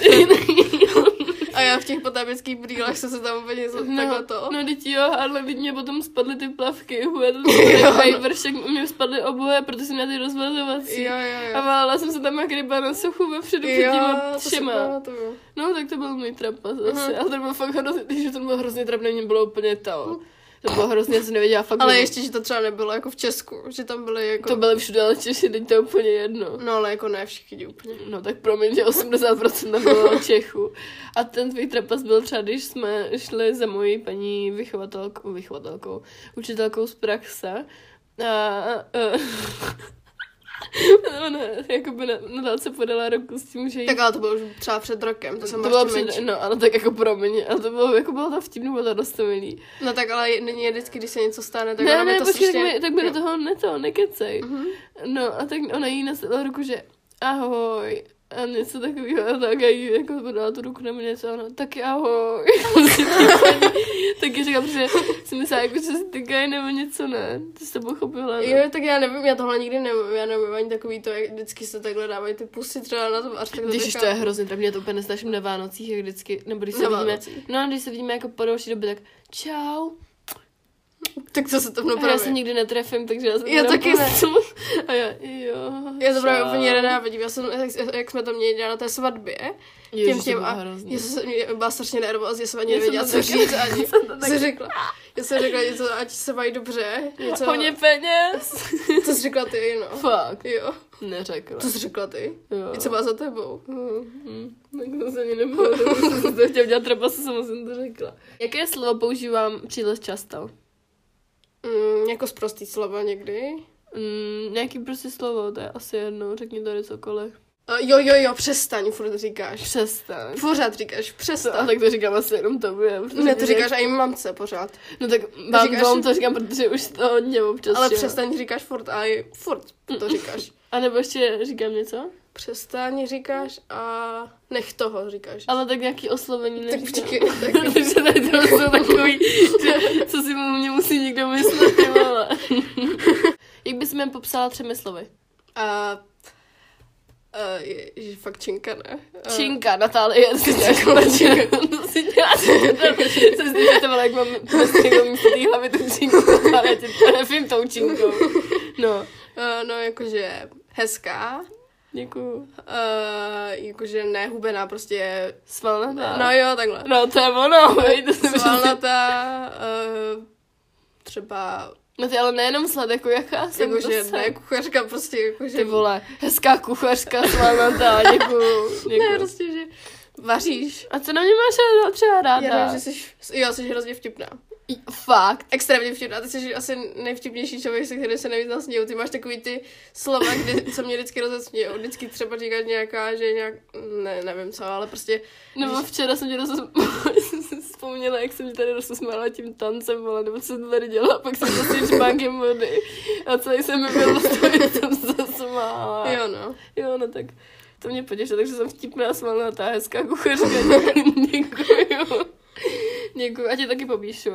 S2: A já v těch potápěckých brýlách jsem se tam úplně no, <laughs> takhle to.
S1: no teď jo, ale teď mě potom spadly ty plavky, huje
S2: <laughs>
S1: to
S2: Jo.
S1: a i vršek, mě spadly oboje, protože jsem měla ty rozvazovací.
S2: Jo, jo,
S1: A
S2: jo.
S1: válela jsem se tam jak ryba na suchu vepředu před
S2: Jo,
S1: těma
S2: to si
S1: třema.
S2: pamatuju.
S1: No tak to byl můj trapas asi,
S2: Mhm.
S1: ale to bylo fakt hrozně, že to bylo hrozně trapné, mě bylo úplně to. To bylo hrozně, já jsem nevěděla fakt.
S2: Hm. Ale
S1: nebo-
S2: ještě, že to třeba nebylo jako v Česku, že tam byly jako...
S1: no. To byly všude, ale Češi, teď to je úplně jedno.
S2: No ale jako ne všichni úplně.
S1: No tak promiň, že 80% tam bylo Čechů. A ten tvůj trapas byl třeba, když jsme šli za mojí paní vychovatelkou, vychovatelkou učitelkou z praxe. A, <laughs> uh, ona jakoby na, na se podala roku s tím, že jí...
S2: Tak ale to bylo už třeba před rokem, to jsem
S1: to bylo
S2: před...
S1: před, no, ale tak jako promiň, ale to bylo, jako bylo to vtipný, bylo to dostomilý.
S2: No tak ale je- není je vždycky, když se něco stane, tak
S1: Ne,
S2: ono by
S1: ne,
S2: to
S1: počkej, tak
S2: strašně-
S1: mi, tak mi do
S2: Jo. Mhm.
S1: toho ne to, nekecej. No a tak ona jí nasadila ruku, že ahoj a něco takového, a tak a jí jako podala tu ruku na mě něco, ano, taky ahoj. <laughs> taky říkala, protože jsem myslela, jako, že se týkají nebo něco, ne, ty jsi to pochopila. ne?
S2: Jo, tak já nevím, já tohle nikdy nevím, já nevím ani takový to, jak vždycky se takhle dávají ty pusy třeba na tom až tak
S1: Když to je hrozně, tak mě to úplně nesnažím na Vánocích, jak vždycky, nebo když se
S2: Na
S1: vidíme,
S2: Vánocích.
S1: no a když se vidíme jako po další době, tak čau.
S2: Tak to se tam
S1: A já
S2: napravuje.
S1: se nikdy netrefím, takže já se
S2: No, Já
S1: jenom
S2: taky ne.
S1: pustu. <laughs> A já, jo,
S2: Já to právě
S1: čau.
S2: úplně nenávidím. Já jsem, jak, jak jsme to měli dělat na té svatbě,
S1: Ježiš,
S2: těm
S1: to
S2: těm
S1: bylo
S2: a
S1: hrozný.
S2: já jsem mě byla strašně nervózní, já jsem ani
S1: Já jsem
S2: nevěděla,
S1: to
S2: co
S1: taky- <laughs>
S2: říct ani.
S1: jsem to taky-
S2: Jsi řekla, já jsem řekla něco, ať se mají dobře, něco,
S1: Hodně
S2: <laughs>
S1: peněz.
S2: co jsi řekla ty, no.
S1: Fuck.
S2: Jo,
S1: Neřekla.
S2: co jsi řekla ty,
S1: Jo.
S2: něco má za tebou. Hmm.
S1: Mhm. Tak to se ani nebylo, jsem to chtěla dělat třeba, se samozřejmě to řekla. Jaké slovo používám příliš často?
S2: Mm, jako z prostý slova někdy.
S1: Mm, nějaký prostě slovo, to je asi jedno, řekni tady cokoliv.
S2: A jo, jo, jo, přestaň, furt říkáš.
S1: Přestaň.
S2: Pořád říkáš,
S1: A
S2: přestaň.
S1: tak to říkám asi jenom tobě. protože
S2: Ne,
S1: mě
S2: to říkáš i mamce pořád.
S1: tak- No tak vám,
S2: říkáš-
S1: vám to říkám, protože už to hodně občas.
S2: Ale
S1: že jo. Mm.
S2: přestaň říkáš furt a i furt to říkáš.
S1: A nebo ještě říkám něco?
S2: Přestaň říkáš a nech toho říkáš.
S1: Ale tak nějaký oslovení
S2: Tak
S1: neříkám. <laughs>
S2: počkej, tak
S1: Takže tady to jsou takový, že, co si o mě musí někdo myslet, ty vole. Jak bys mě popsala třemi slovy?
S2: A, a je, je fakt činka, ne? A,
S1: Činka, Natálie, si <laughs> děláš činka. To si děláš Jsem si představila, jak mám prostě někdo místo té hlavy tu činku, ale ty to nefím tou činkou. No,
S2: A, no, jakože hezká,
S1: Děkuju.
S2: Uh, jakože nehubená, prostě...
S1: Svalnatá.
S2: No jo, takhle.
S1: no to je ono, vej, to jsem
S2: Svalnatá, uh, třeba...
S1: No ty ale nejenom slad, jako jaká jsem, to
S2: Jakože
S1: jsem.
S2: ne kuchařka, prostě jakože...
S1: Ty vole, hezká kuchařka, svalnatá, děkuju,
S2: Ne,
S1: děkuju.
S2: prostě, že vaříš.
S1: A co na mě máš ráda- třeba ráda?
S2: Já vím, že jsi, jo, jsi hrozně vtipná.
S1: I- Fakt.
S2: Extrémně vtipná. Ty jsi asi nejvtipnější člověk, se kterým se nejvíc nasměju. Ty máš takový ty slova, kdy, co mě vždycky rozesmějou. Vždycky třeba říkáš nějaká, že nějak, ne, nevím co, ale prostě
S1: Nebo včera jsem tě rozum... <laughs> jsem si vzpomněla, jak jsem tě tady rozusmála tím tancem, ale nebo co jsem tady dělala, pak jsem to s tím čbánkem vody a celý jsem mi byl jsem se zasmála.
S2: jo no.
S1: Jo, no tak to mě potěšilo, takže jsem vtipná, smalnatá, hezká kuchařka. <laughs> Děkuju. Děkuju. A tě taky popíšu.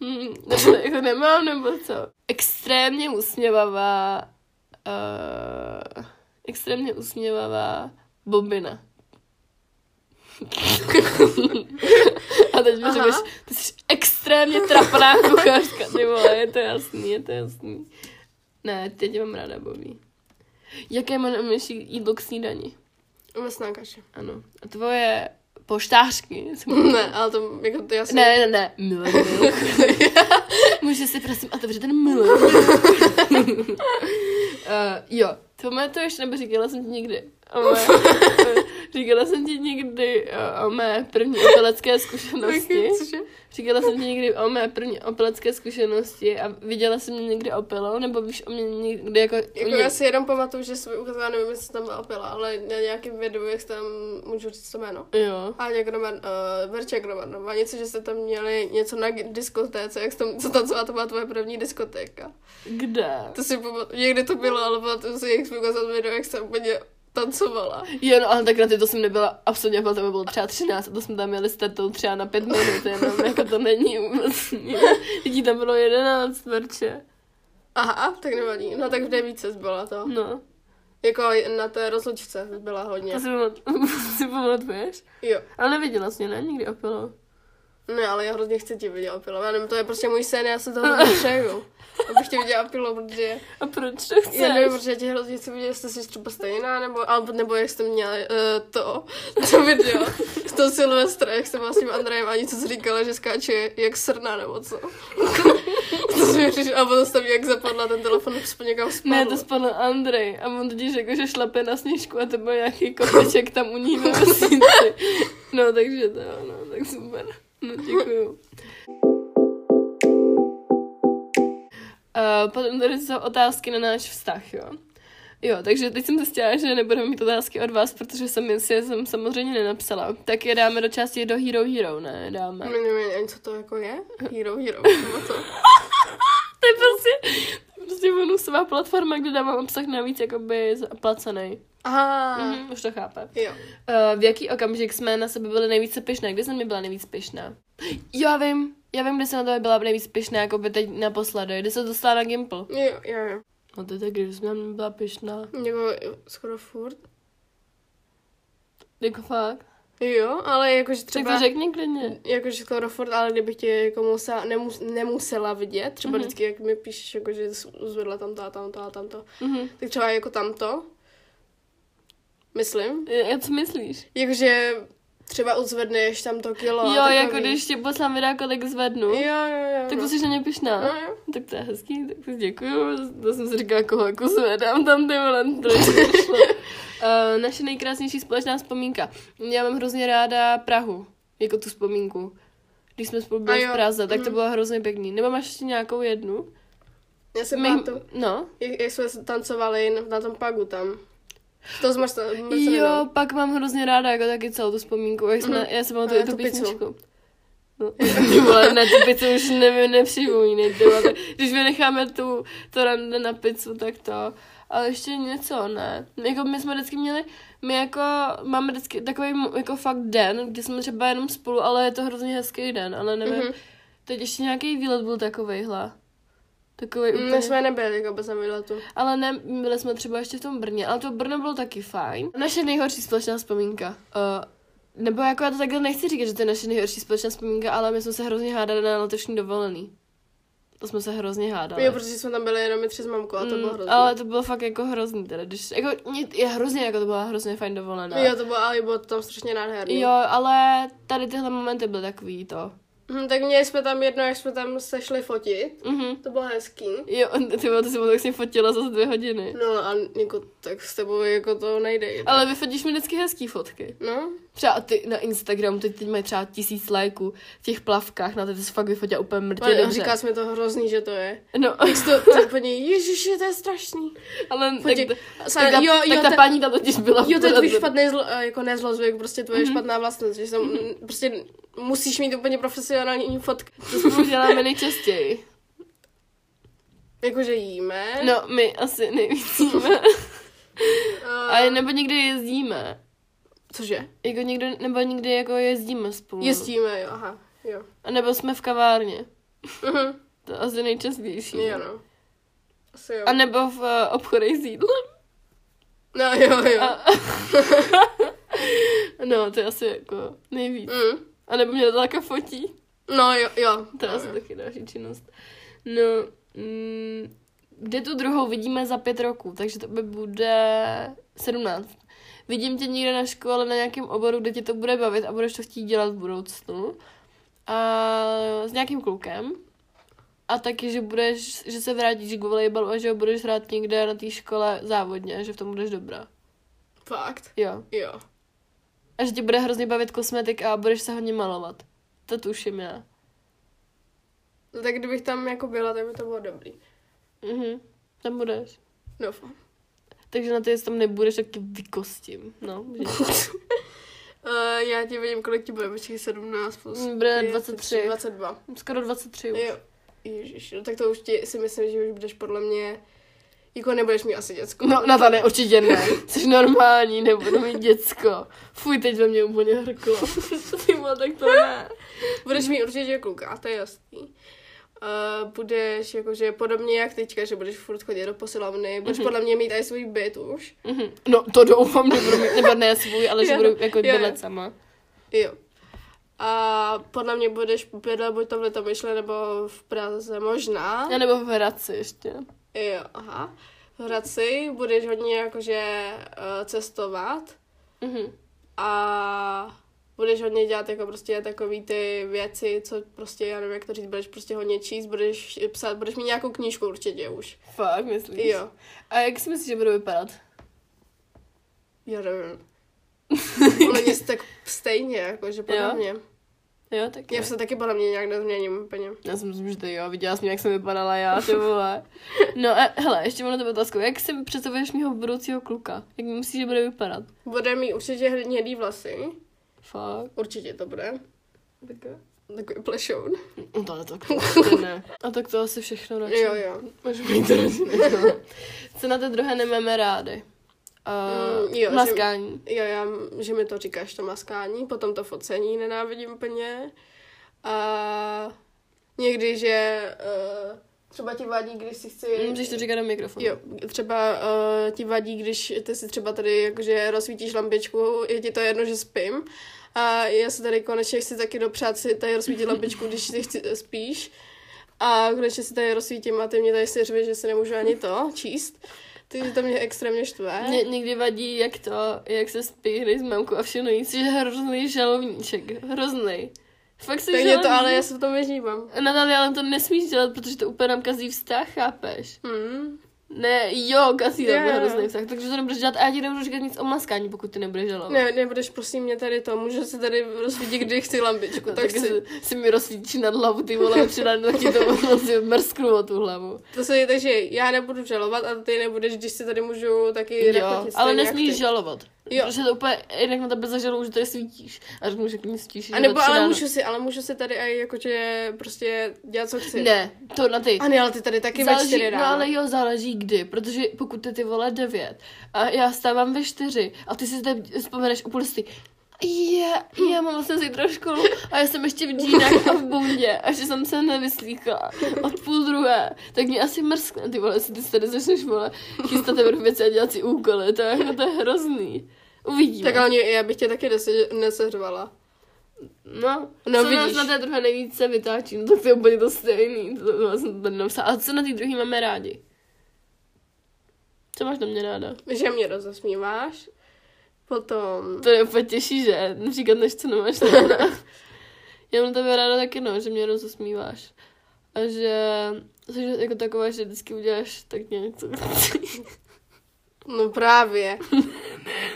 S1: Hmm, nebo to jako nemám, nebo co? Extrémně usměvavá. Uh, extrémně usměvavá bobina. <laughs> A teď mi
S2: Aha.
S1: řekneš, ty jsi extrémně trapná kuchařka, ty vole, je to jasný, je to jasný. Ne, teď mám ráda Bobby. Jaké má nejmenší jídlo k snídani?
S2: Masná kaše.
S1: Ano. A tvoje poštářky?
S2: <laughs> Ne, ale to, jako to já jsem... <laughs>
S1: Ne, ne, ne, <laughs> milenio. Může si prosím otevřít ten <laughs> milenio. uh, Eh, jo, to mé to ještě nebo říkala jsem ti nikdy. O mé, eh, říkala jsem ti nikdy eh, o mé první opelecké <laughs> zkušenosti.
S2: Jako, Cože?
S1: Říkala jsem ti někdy o mé první opelecké zkušenosti a viděla jsem mě někdy opilou, nebo víš o mě někdy jako...
S2: Jako já si jenom pamatuju, že jsem ukázala, nevím, jestli tam byla opila, ale na nějakém videu, jak se tam můžu říct to jméno.
S1: Jo.
S2: A někdo má, uh, Verček Roman, má něco, že jste tam měli něco na diskotéce, jak jste tam, co tancovala, to byla tvoje první diskotéka.
S1: Kde?
S2: To si pamat, někdy to bylo, ale pamatuju si, jak jsme ukázali video, jak jsem úplně tancovala.
S1: Jo, no, ale tak na ty to jsem nebyla absolutně, ale to mi bylo třeba 13 a to jsme tam jeli s tetou třeba na 5 minut, jenom jako to není vůbec nic. Lidí tam bylo 11, verče.
S2: Aha, tak nevadí. No tak v devíce byla to.
S1: No,
S2: Jako na té rozlučce byla hodně.
S1: to si, pamat- <laughs> si pamatuješ?
S2: Jo.
S1: Ale neviděla jsi mě, ne? Nikdy opilo.
S2: Ne, ale já hrozně chci tě vidět opilou. Já nevím, to je prostě můj sen, já se toho hodně přeju. Abych tě viděla opilou, protože...
S1: A proč to chceš?
S2: Já nevím, protože já tě hrozně chci vidět, jestli jsi třeba stejná, nebo, ale, nebo jak jste měla uh, to, <laughs> to video z toho Silvestra, jak jste byla s tím Andrejem a něco jsi říkala, že skáče jak srna, nebo co. <laughs> to jsi mi přišel, a potom jste mi jak zapadla ten telefon, už po někam spadl.
S1: Ne, to spadl Andrej a on totiž řekl, že šlape na sněžku a to byl nějaký kopeček tam u ní ve vesnici. No, takže to jo, no, tak super. No, děkuju. Uh, potom tady jsou otázky na náš vztah, jo. Jo, takže teď jsem zjistila, že nebudeme mít otázky od vás, protože jsem si je jsem samozřejmě nenapsala. Tak je dáme do části do Hero Hero, ne? Dáme.
S2: Ne, nevím, ani co to jako je? Hero, hero, nebo co?
S1: To je prostě, to je prostě bonusová platforma, kde dávám obsah navíc jakoby zaplacený.
S2: Aha,
S1: Mm, už to chápe.
S2: jo.
S1: Uh, v jaký okamžik jsme na sebe byli nejvíce pyšné? Kde jsem mi byla nejvíc pyšná? Jo, já vím. Já vím, kde jsem na to byla nejvíc pyšná, jako by teď naposledy, kdy se dostala na Gimple.
S2: Jo, jo, jo.
S1: No to je tak, když jsem na mě byla pyšná.
S2: Jako skoro furt.
S1: Jako fakt.
S2: Jo, ale jakože
S1: Třeba...
S2: třeba...
S1: Tak to řekni klidně.
S2: jakože skoro furt, ale kdybych tě jako musela, nemus, nemusela vidět, třeba
S1: Mhm.
S2: mm-hmm. vždycky, jak mi píšeš, jako, že jsi zvedla tamto a tamto a tamto,
S1: Mhm.
S2: tak třeba jako tamto, myslím,
S1: Je- Jak co myslíš?
S2: jakože třeba uzvedneš tamto kilo. a
S1: jo,
S2: No, takový.
S1: jako když tě poslám videa, kolik zvednu,
S2: Jo, jo, jo.
S1: tak to
S2: no.
S1: jsi na mě pyšná.
S2: No, jo.
S1: Tak to je hezký, tak to děkuju. To jsem si říkala, koho jako zvedám tam ty vole, to je šlo.
S2: <laughs>
S1: Uh, naše nejkrásnější společná vzpomínka. Já mám hrozně ráda Prahu, jako tu vzpomínku. Když jsme spolu byli
S2: A jo,
S1: v Praze, tak to
S2: mhm.
S1: bylo hrozně pěkný. Nebo máš ještě nějakou jednu?
S2: Já se
S1: My,
S2: pamatuju,
S1: no.
S2: jak, jak jsme tancovali na- na tom pagu tam. To jsme
S1: Jo, pak mám hrozně ráda jako taky celou tu vzpomínku. Jak jsme,
S2: Mhm.
S1: Já jsem
S2: A
S1: pamatuju
S2: na
S1: tu
S2: tu pizzu.
S1: písničku. No, <laughs> ty vole, ne, tu pizzu už nevím, nepřipomínejte. vole. Když vynecháme tu, to rande na pizzu, tak to. Ale ještě něco, ne. Jako my jsme vždycky měli, my jako máme vždycky takový mu- jako fakt den, kdy jsme třeba jenom spolu, ale je to hrozně hezký den, ale nevím.
S2: Mhm.
S1: Teď ještě nějaký výlet byl takovejhle. Takový úplně.
S2: My jsme nebyli jako bez tu.
S1: Ale ne, byli jsme třeba ještě v tom Brně, ale to Brno bylo taky fajn. Naše nejhorší společná vzpomínka. Uh, nebo jako já to takhle nechci říkat, že to je naše nejhorší společná vzpomínka, ale my jsme se hrozně hádali na letošní dovolený. To jsme se hrozně hádali.
S2: Jo, protože jsme tam byli jenom my tři s mamkou a to bylo
S1: Mm,
S2: hrozné.
S1: Ale to bylo fakt jako hrozný teda, když, jako, mě- je hrozně, jako to byla hrozně fajn dovolená.
S2: Jo, to bylo, ale bylo to tam strašně nádherný.
S1: jo, ale tady tyhle momenty byly takový to.
S2: Hm, tak měli jsme tam jedno, jak jsme tam se šli fotit.
S1: Mhm.
S2: To bylo hezký.
S1: Jo, <laughs> ty vole, ty jsi tak si fotila za dvě hodiny.
S2: No a jako, tak s tebou jako to nejde.
S1: Ale vyfotíš mi vždycky hezký fotky.
S2: No,
S1: Třeba ty na Instagramu, teď, teď mají třeba tisíc lajků v těch plavkách, na to ty jsi fakt vyfotila úplně mrtvě
S2: ale
S1: dobře.
S2: říká jsme to hrozný, že to je.
S1: No,
S2: <laughs> Jak jsi
S1: <laughs>
S2: to, tak paní, ježiši, to je strašný.
S1: ale tak,
S2: Fotě-
S1: tak,
S2: Sá-
S1: ta,
S2: jo,
S1: tak
S2: jo,
S1: ta
S2: ta-
S1: paní tam totiž byla.
S2: Jo, to je
S1: byla-
S2: tvůj špatný, zlo, eh, jako ne zlozvyk, prostě tvoje
S1: Mhm.
S2: špatná vlastnost, že jsem, prostě musíš mít úplně
S1: <laughs>
S2: profesionální fotky.
S1: <laughs> To spolu děláme nejčastěji.
S2: Jakože Jako, jíme.
S1: No, my asi nejvíc
S2: <laughs>
S1: jíme. Ale nebo někdy jezdíme.
S2: Cože?
S1: Jako někdo, nebo někdy jako jezdíme spolu.
S2: Jezdíme, jo, aha, jo.
S1: A nebo jsme v kavárně.
S2: Mhm,
S1: To asi nejčastější.
S2: jo, no. Asi jo.
S1: A nebo v eh, obchodech s jídlem.
S2: No, jo, jo. <laughs>
S1: A... no, to je asi jako nejvíc.
S2: Mm.
S1: A nebo mě to taká fotí.
S2: No, jo, jo.
S1: To je
S2: No,
S1: asi
S2: jo.
S1: taky další činnost. No, mm, kde tu druhou vidíme za pět roků, takže to by bude 17. Vidím tě někde na škole, na nějakém oboru, kde tě to bude bavit a budeš to chtít dělat v budoucnu. A s nějakým klukem. A taky, že budeš, že se vrátíš k volejbalu a že ho budeš hrát někde na té škole závodně a že v tom budeš dobrá.
S2: Fakt.
S1: Jo.
S2: Jo.
S1: A že tě bude hrozně bavit kosmetik a budeš se hodně malovat. To tuším já.
S2: No, tak kdybych tam jako byla, tak by to bylo dobrý.
S1: Mhm. Tam budeš.
S2: Doufám.
S1: Takže na to, jestli tam nebudeš, tak tě vykostím. No, že?
S2: <laughs> Uh, já ti vidím, kolik ti bude, počkej, 17 plus.
S1: Mm, bude
S2: pět,
S1: 23.
S2: 22.
S1: Skoro 23 už.
S2: Jo. Ježiš, no tak to už ti, si myslím, že už budeš podle mě, jako nebudeš mít asi děcko.
S1: No,
S2: <laughs>
S1: na tady určitě ne. <laughs> Jsi normální, nebudu mít děcko. Fuj, teď ve mě úplně hrklo.
S2: <laughs>
S1: Ty vole, tak to ne.
S2: Budeš mít určitě kluka, to je jasný. Uh, budeš jakože podobně jak teďka, že budeš furt chodit do posilovny, budeš mm-hmm. podle mě mít i svůj byt už.
S1: Mhm. No, to doufám, že budu mít, nebo ne svůj, ale že
S2: Jo,
S1: budu jako
S2: jo, jo.
S1: bydlet sama.
S2: Jo. A podle mě budeš bydlet buď tam v Litomyšle nebo v Praze možná.
S1: A nebo v Hradci ještě.
S2: Jo, aha. V Hradci budeš hodně jakože uh, cestovat
S1: Mhm.
S2: a budeš hodně dělat jako prostě takový ty věci, co prostě, já nevím, jak to říct, budeš prostě hodně číst, budeš psát, budeš mít nějakou knížku určitě už.
S1: Fakt, myslíš?
S2: Jo.
S1: A jak si myslíš, že budu vypadat?
S2: <laughs> Já nevím. Oni jste tak stejně, jako, že podle
S1: Jo?
S2: mě.
S1: Jo, tak
S2: Já
S1: jo.
S2: se taky podle mě nějak nezměním úplně.
S1: Já si myslím, že to jo, viděla jsem, jak jsem vypadala já, ty vole. No a hele, ještě mám na tebe otázku. Jak si představuješ mýho budoucího kluka? Jak mi myslíš, že bude vypadat?
S2: Bude mít určitě hnědý vlasy.
S1: Fakt.
S2: Určitě to bude. Takový plešoun.
S1: No to ale tak <laughs> to ne. A tak to asi všechno radši.
S2: Jo, jo.
S1: Můžeme jít radši nechat. Co na té druhé nemáme rády? Uh,
S2: Mm, jo, že-
S1: maskání.
S2: Jo, já, že mi to říkáš, to maskání, potom to focení nenávidím úplně. A někdy, že uh, třeba ti vadí, když si chci...
S1: Mm, Můžeš to říkat do mikrofonu.
S2: Jo, třeba uh, ti vadí, když ty si třeba tady jakože rozsvítíš lampičku, je ti to jedno, že spím. A já se tady konečně chci taky dopřát si tady rozsvítit lampičku, když ty chci, eh, spíš. A konečně si tady rozsvítím a ty mě tady si řveš, že si nemůžu ani to číst. Takže to mě extrémně štve.
S1: Mě někdy vadí, jak to, jak se spí, hry s mamkou a všechno jíst, že hrozný žalovníček. Hrozný. Fakt se
S2: Tak mě to, ale já se v tom nežívám.
S1: Natalia, ale to nesmíš dělat, protože to úplně nám kazí vztah, chápeš?
S2: Hmm.
S1: Ne, jo, kazí to
S2: Jo,
S1: yeah.
S2: jo.
S1: hrozný vztah, takže to nebudeš dělat a já ti nebudu říkat nic o maskání, pokud ty nebudeš žalovat.
S2: Ne, nebudeš prosím mě tady to, můžu se tady rozsvítit, kdy chci lampičku,
S1: No,
S2: tak
S1: tak
S2: chci.
S1: si, si mi rozsvítíš nad hlavu, ty vole, přidám tak <laughs> ti to si mrsknu o tu hlavu.
S2: To se, takže já nebudu žalovat a ty nebudeš, když si tady můžu taky
S1: Jo,
S2: rechotit
S1: ale
S2: stejně jak
S1: nesmíš
S2: ty.
S1: žalovat. Jo.
S2: Jo.
S1: Protože to úplně, jinak na tebe zažalou, že tady svítíš. A řeknu, že klidně svítíš.
S2: A
S1: že
S2: nebo
S1: to
S2: ale
S1: ráno.
S2: můžu si, ale můžu si tady aj jakože prostě dělat, co chci.
S1: Ne, to na ty.
S2: A ne, ale ty tady taky ve čtyři
S1: Záleží,
S2: ráno.
S1: no ale jo, záleží kdy, protože pokud ty, ty vole devět a já stávám ve čtyři a ty si zde vzpomeneš o půl si, je, já mám vlastně zítra školu a já jsem ještě v džínách a v bundě a že jsem se nevyslíkala od půl druhé, tak mě asi mrskne ty vole, jestli ty se tady začneš vole chystat teprve věci a dělat si úkoly, to je, jako, to je hrozný. Uvidíme.
S2: Tak ale mě- já bych tě taky nese- nesehřvala.
S1: No, no
S2: Co
S1: co vidíš.
S2: nás
S1: nás na té druhé nejvíce vytáčí, no tak to je úplně to stejný. To, to, to jsem tady napsala. A co na té druhé máme rádi? Co máš na mě ráda?
S2: Že mě rozesmíváš, potom...
S1: To je úplně těžší, že? Říkat, než co nemáš <laughs> ráda. Já mám na tebe ráda taky, no, že mě rozosmíváš. A že jsi jako taková, že vždycky uděláš <laughs> tak něco.
S2: No
S1: <laughs>
S2: právě.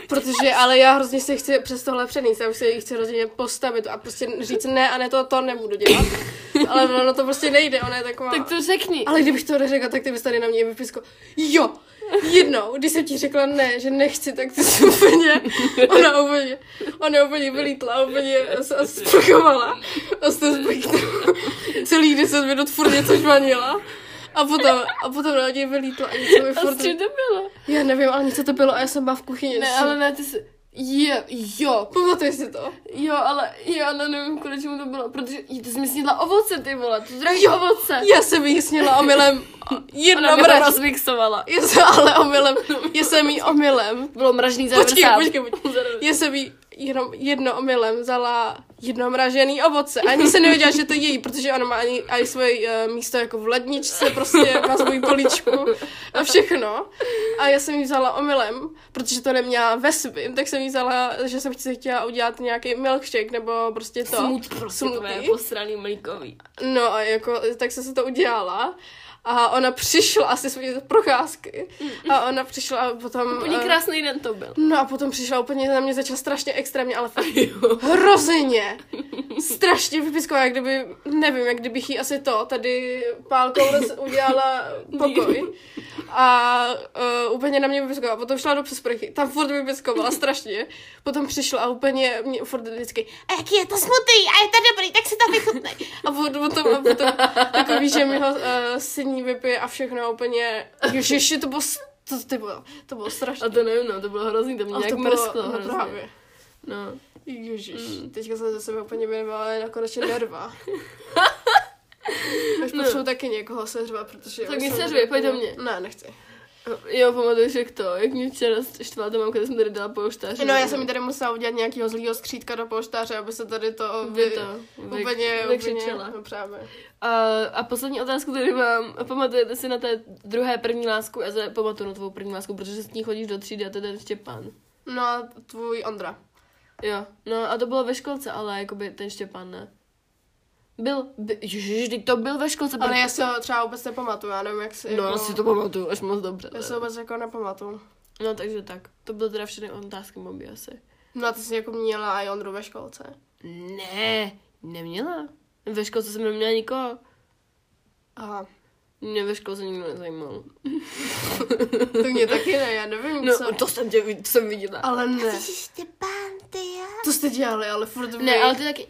S2: Protože, ale já hrozně se chci přes tohle přenést, já už se jí chci hrozně postavit a prostě říct ne a ne to, to nebudu
S1: <laughs>
S2: dělat. Ale ono to prostě nejde, ona je taková...
S1: tak to řekni.
S2: Ale kdybych to neřekla, tak ty bys tady na mě vypisko. Jo, jednou, když jsem ti řekla ne, že nechci, tak ty jsi úplně, ona úplně, ona úplně vylítla, úplně se sprchovala. A jste sprchnu celých 10 minut furt něco žvanila. A potom, a potom na něj vylítla a něco mi
S1: A
S2: furt...
S1: s čím to bylo?
S2: Já nevím, ale něco to bylo a já jsem byla v kuchyni.
S1: Ne, ale ne, ty jsi... Jo, jo,
S2: Pamatuješ si to?
S1: jo, ale jo, ale nevím, kvůli čemu to bylo, protože jí, ty jsi mi snědla ovoce, ty vole, ty zdraví
S2: Jo,
S1: ovoce.
S2: Já jsem jí sněla omylem
S1: Ona
S2: jedno
S1: mi to
S2: mraz.
S1: rozmixovala.
S2: Já jsem ale omylem, já jsem jí omylem
S1: Bylo mražný za
S2: Počkej,
S1: vrsát.
S2: počkej, počkej. Já jsem jí jenom jedno omylem vzala jedno mražený ovoce. Ani se nevěděla, že to je její, protože ona má ani, ani svoje eh, místo jako v ledničce, prostě má svoji poličku a všechno. A já jsem jí vzala omylem, protože to neměla ve svým, tak jsem jí vzala, že jsem si chtěla udělat nějaký milkshake nebo prostě to.
S1: Smut prostě, to je
S2: Smoothie.
S1: posraný mlíkový.
S2: No a jako, tak jsem se to udělala. A ona přišla asi svoje procházky. A ona přišla a potom...
S1: Mm. Úplně
S2: eh,
S1: krásný den to <laughs> byl.
S2: No a potom přišla úplně na mě začala strašně extrémně, ale fakt hrozeně. Strašně vypisková, jak kdyby, nevím, jak kdybych jí asi to tady pálkou roz- udělala pokoj. A uh, úplně na mě vypiskovala. Potom šla do přesprchy, tam furt vypiskovala strašně. Potom přišla a úplně mě furt vždycky, a jaký je to smutný, a je to dobrý, tak si to vychutnej. A potom, potom, a potom takový, že mi ho uh, syní vypije a všechno úplně, ježiši, to bylo, s- to, to bylo, to bylo strašné.
S1: A to nevím, no, to bylo hrozný, to mě
S2: A
S1: nějak
S2: to bylo
S1: mrzklo
S2: no,
S1: hrozně.
S2: právě.
S1: No.
S2: Ježiš, mm. teďka jsem ze sebe úplně věnovala na
S1: <laughs>
S2: konečně nerva. Až potřebuji taky někoho seřvat, protože...
S1: No. Tak
S2: už
S1: mě
S2: jsem
S1: seřvej, pojď do
S2: úplně-
S1: mě.
S2: Ne, nechci.
S1: Jo, pamatuješ, jak to, jak mě včera štvala ta mamka, když jsem tady dala polštáře.
S2: No, já jsem mi tady musela udělat nějakého zlýho skřítka do polštáře, aby se tady to...
S1: By to, vy-
S2: Úplně, úplně,
S1: vykřičela.
S2: no, právě.
S1: A, a poslední otázku tady mám. Pamatujete si na té druhé první lásku? Já se pamatuju na tvou první lásku, protože s ní chodíš do třídy a to je ten Štěpán.
S2: No a tvůj Ondra.
S1: Jo, no a to bylo ve školce, ale jakoby ten Štěpán ne. Byl, by, ježiš, teď to byl ve školce.
S2: Ale
S1: proto-
S2: já si ho třeba vůbec nepamatuju, já nevím, jak si...
S1: No,
S2: jako...
S1: já si to pamatuju až moc dobře.
S2: Já si vůbec jako nepamatuju.
S1: No, takže tak. To bylo teda všechny otázky moby asi.
S2: No a ty jsi jako měla i Ondru ve školce.
S1: Ne, neměla. Ve školce jsem neměla nikoho.
S2: Aha,
S1: Mě ve školce nikdo nezajímal.
S2: to mě taky ne, já nevím,
S1: No,
S2: co...
S1: to jsem tě vid- jsem viděla. <laughs>
S2: Ale ne,
S3: Štěpán, ty jo?
S2: to jste dělali, ale furt
S1: Ne,
S2: vy.
S1: ale ty taky.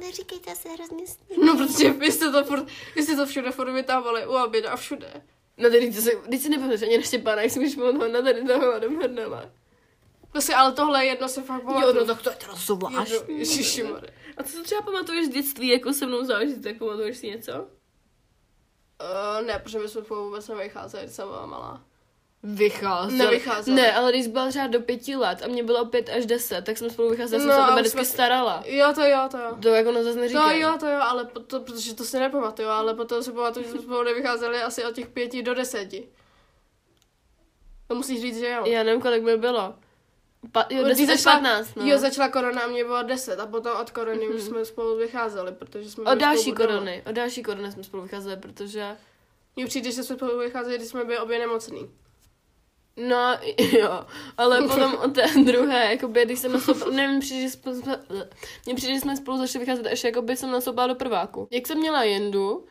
S3: Neříkejte se hrozně s
S2: No, protože vy jste to furt, vy jste to všude furt vytávali, u oběda a všude.
S1: No tedy, ty se, teď si nepamatuješ ani na Štěpána, jak jsem když mluvila na tady toho domhrnala.
S2: Prostě, ale tohle jedno se fakt pamatuju.
S1: no, tak to je teda zvlášť.
S2: Jedno- Ježišimare.
S1: A co si třeba pamatuješ z dětství, jako se mnou zážitek, pamatuješ si něco?
S2: Uh, ne, protože my jsme spolu vůbec nevycházeli, když jsem byla malá.
S1: Vycházel.
S2: Nevycházeli.
S1: Ne, ale když byla třeba do pěti let a mě bylo pět až deset, tak jsme spolu vycházeli, no,
S2: No,
S1: jsem se o
S2: a
S1: tebe
S2: my
S1: vždycky
S2: jsme-
S1: starala.
S2: Jo, to jo, to jo.
S1: To jako no zase
S2: To
S1: neříkej.
S2: jo, to jo, ale po- to, protože to si nepamatuju, ale potom si pamatuju, že jsme spolu nevycházeli asi od těch pěti do deseti. To musíš říct, že jo.
S1: Já nevím, kolik mi bylo. Pa, jo,
S2: Když
S1: 10 až 15, no.
S2: Jo, začala korona a mě bylo 10 a potom od korony už jsme spolu vycházeli, protože jsme
S1: O
S2: byli
S1: další
S2: spolu doma.
S1: korony, o další korony jsme spolu vycházeli, protože...
S2: Mně přijde, že jsme spolu vycházeli, když jsme byli obě nemocný.
S1: No, <laughs> jo, ale potom o té <laughs> druhé, jakoby, když jsem nastoupila, nevím, přijde, že spolu, jsme- mně přijde, že jsme spolu začali vycházet, až jakoby jsem nastoupila do prváku. Jak jsem měla jendu,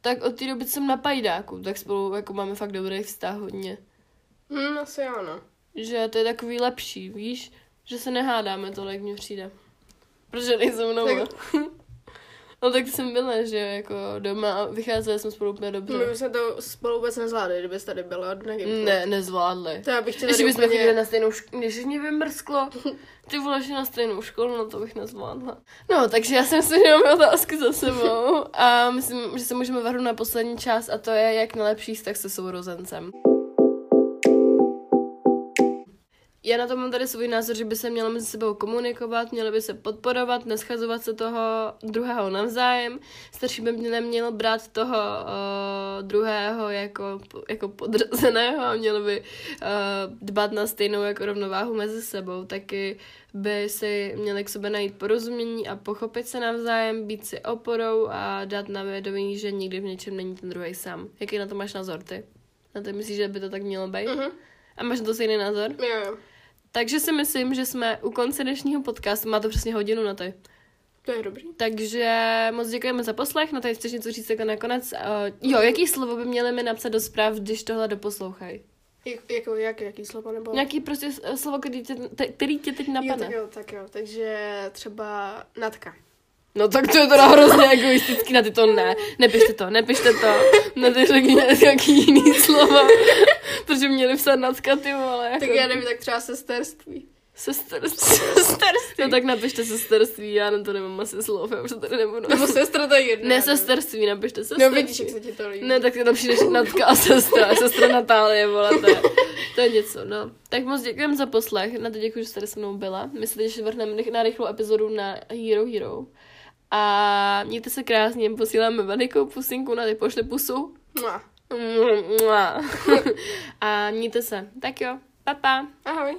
S1: tak od té doby jsem na pajdáku, tak spolu jako máme fakt dobrý vztah hodně.
S2: Hmm, asi ano.
S1: Že to je takový lepší, víš, že se nehádáme tolik, mně přijde. Protože nejsem mnou.
S2: Tak-
S1: <laughs> No tak jsem byla, že jako doma a vycházeli jsme spolu úplně
S2: My
S1: dobře.
S2: bychom to spolu vůbec nezvládli, kdyby tady byla na gymku.
S1: Ne, nezvládli.
S2: To já bych tě
S1: Ještě
S2: tady
S1: bychom chodili
S2: úplně...
S1: na stejnou školu, když mě vymrsklo, ty vole, že na stejnou školu, no to bych nezvládla. No, takže já jsem si jenom otázky za sebou a myslím, že se můžeme vrhnout na poslední část a to je, jak nejlepší vztah se sourozencem. já na to mám tady svůj názor, že by se mělo mezi sebou komunikovat, měli by se podporovat, neschazovat se toho druhého navzájem. Starší by mě neměl brát toho uh, druhého jako, jako podrzeného a měl by uh, dbat na stejnou jako rovnováhu mezi sebou. Taky by si měli k sobě najít porozumění a pochopit se navzájem, být si oporou a dát na vědomí, že nikdy v něčem není ten druhý sám. Jaký na to máš názor ty? Na to myslíš, že by to tak mělo být?
S2: Mhm.
S1: A máš na to stejný názor?
S2: Jo, jo.
S1: Takže si myslím, že jsme u konce dnešního podcastu. Má to přesně hodinu na to.
S2: To je dobrý.
S1: Takže moc děkujeme za poslech. Na tady chceš něco říct jako nakonec. Uh, jo, jaký slovo by měli mi napsat do zpráv, když tohle doposlouchají?
S2: Jak, jako, jak, jaký slovo nebo...
S1: Nějaký prostě eh, slovo, který tě, te, který tě teď
S2: jo, tak
S1: napadne.
S2: jo, tak jo. Takže třeba natka.
S1: No tak to je teda hrozně egoistický, na ty to ne. Nepište to, nepište to. Na ty řekni nějaký jiný slovo. Protože měli psát natka, ty vole. Jako.
S2: Tak já nevím, tak třeba sesterství.
S1: Sesterství.
S2: Sesterství.
S1: No tak napište sesterství, já na to nemám asi slov, já už to tady
S2: <laughs>
S1: nebudu.
S2: Nebo sestra to je jedno.
S1: Ne,
S2: já nevím.
S1: sesterství, napište
S2: No
S1: sesterství.
S2: vidíš, jak se ti to líbí.
S1: Ne, tak tam přijdeš Natka a sestra,
S2: <laughs>
S1: sestra Natálie, vole, to je, to je něco, no. Tak moc děkujeme za poslech, na to děkuji, že jste tady se mnou byla. My se teď ještě vrhneme rych- na rychlou epizodu na Hero Hero. A mějte se krásně, posíláme velikou pusinku na ty pošle pusu.
S2: Mua. <laughs>
S1: Mua, mua. a mějte se. Tak jo, pa pa.
S2: Ahoj.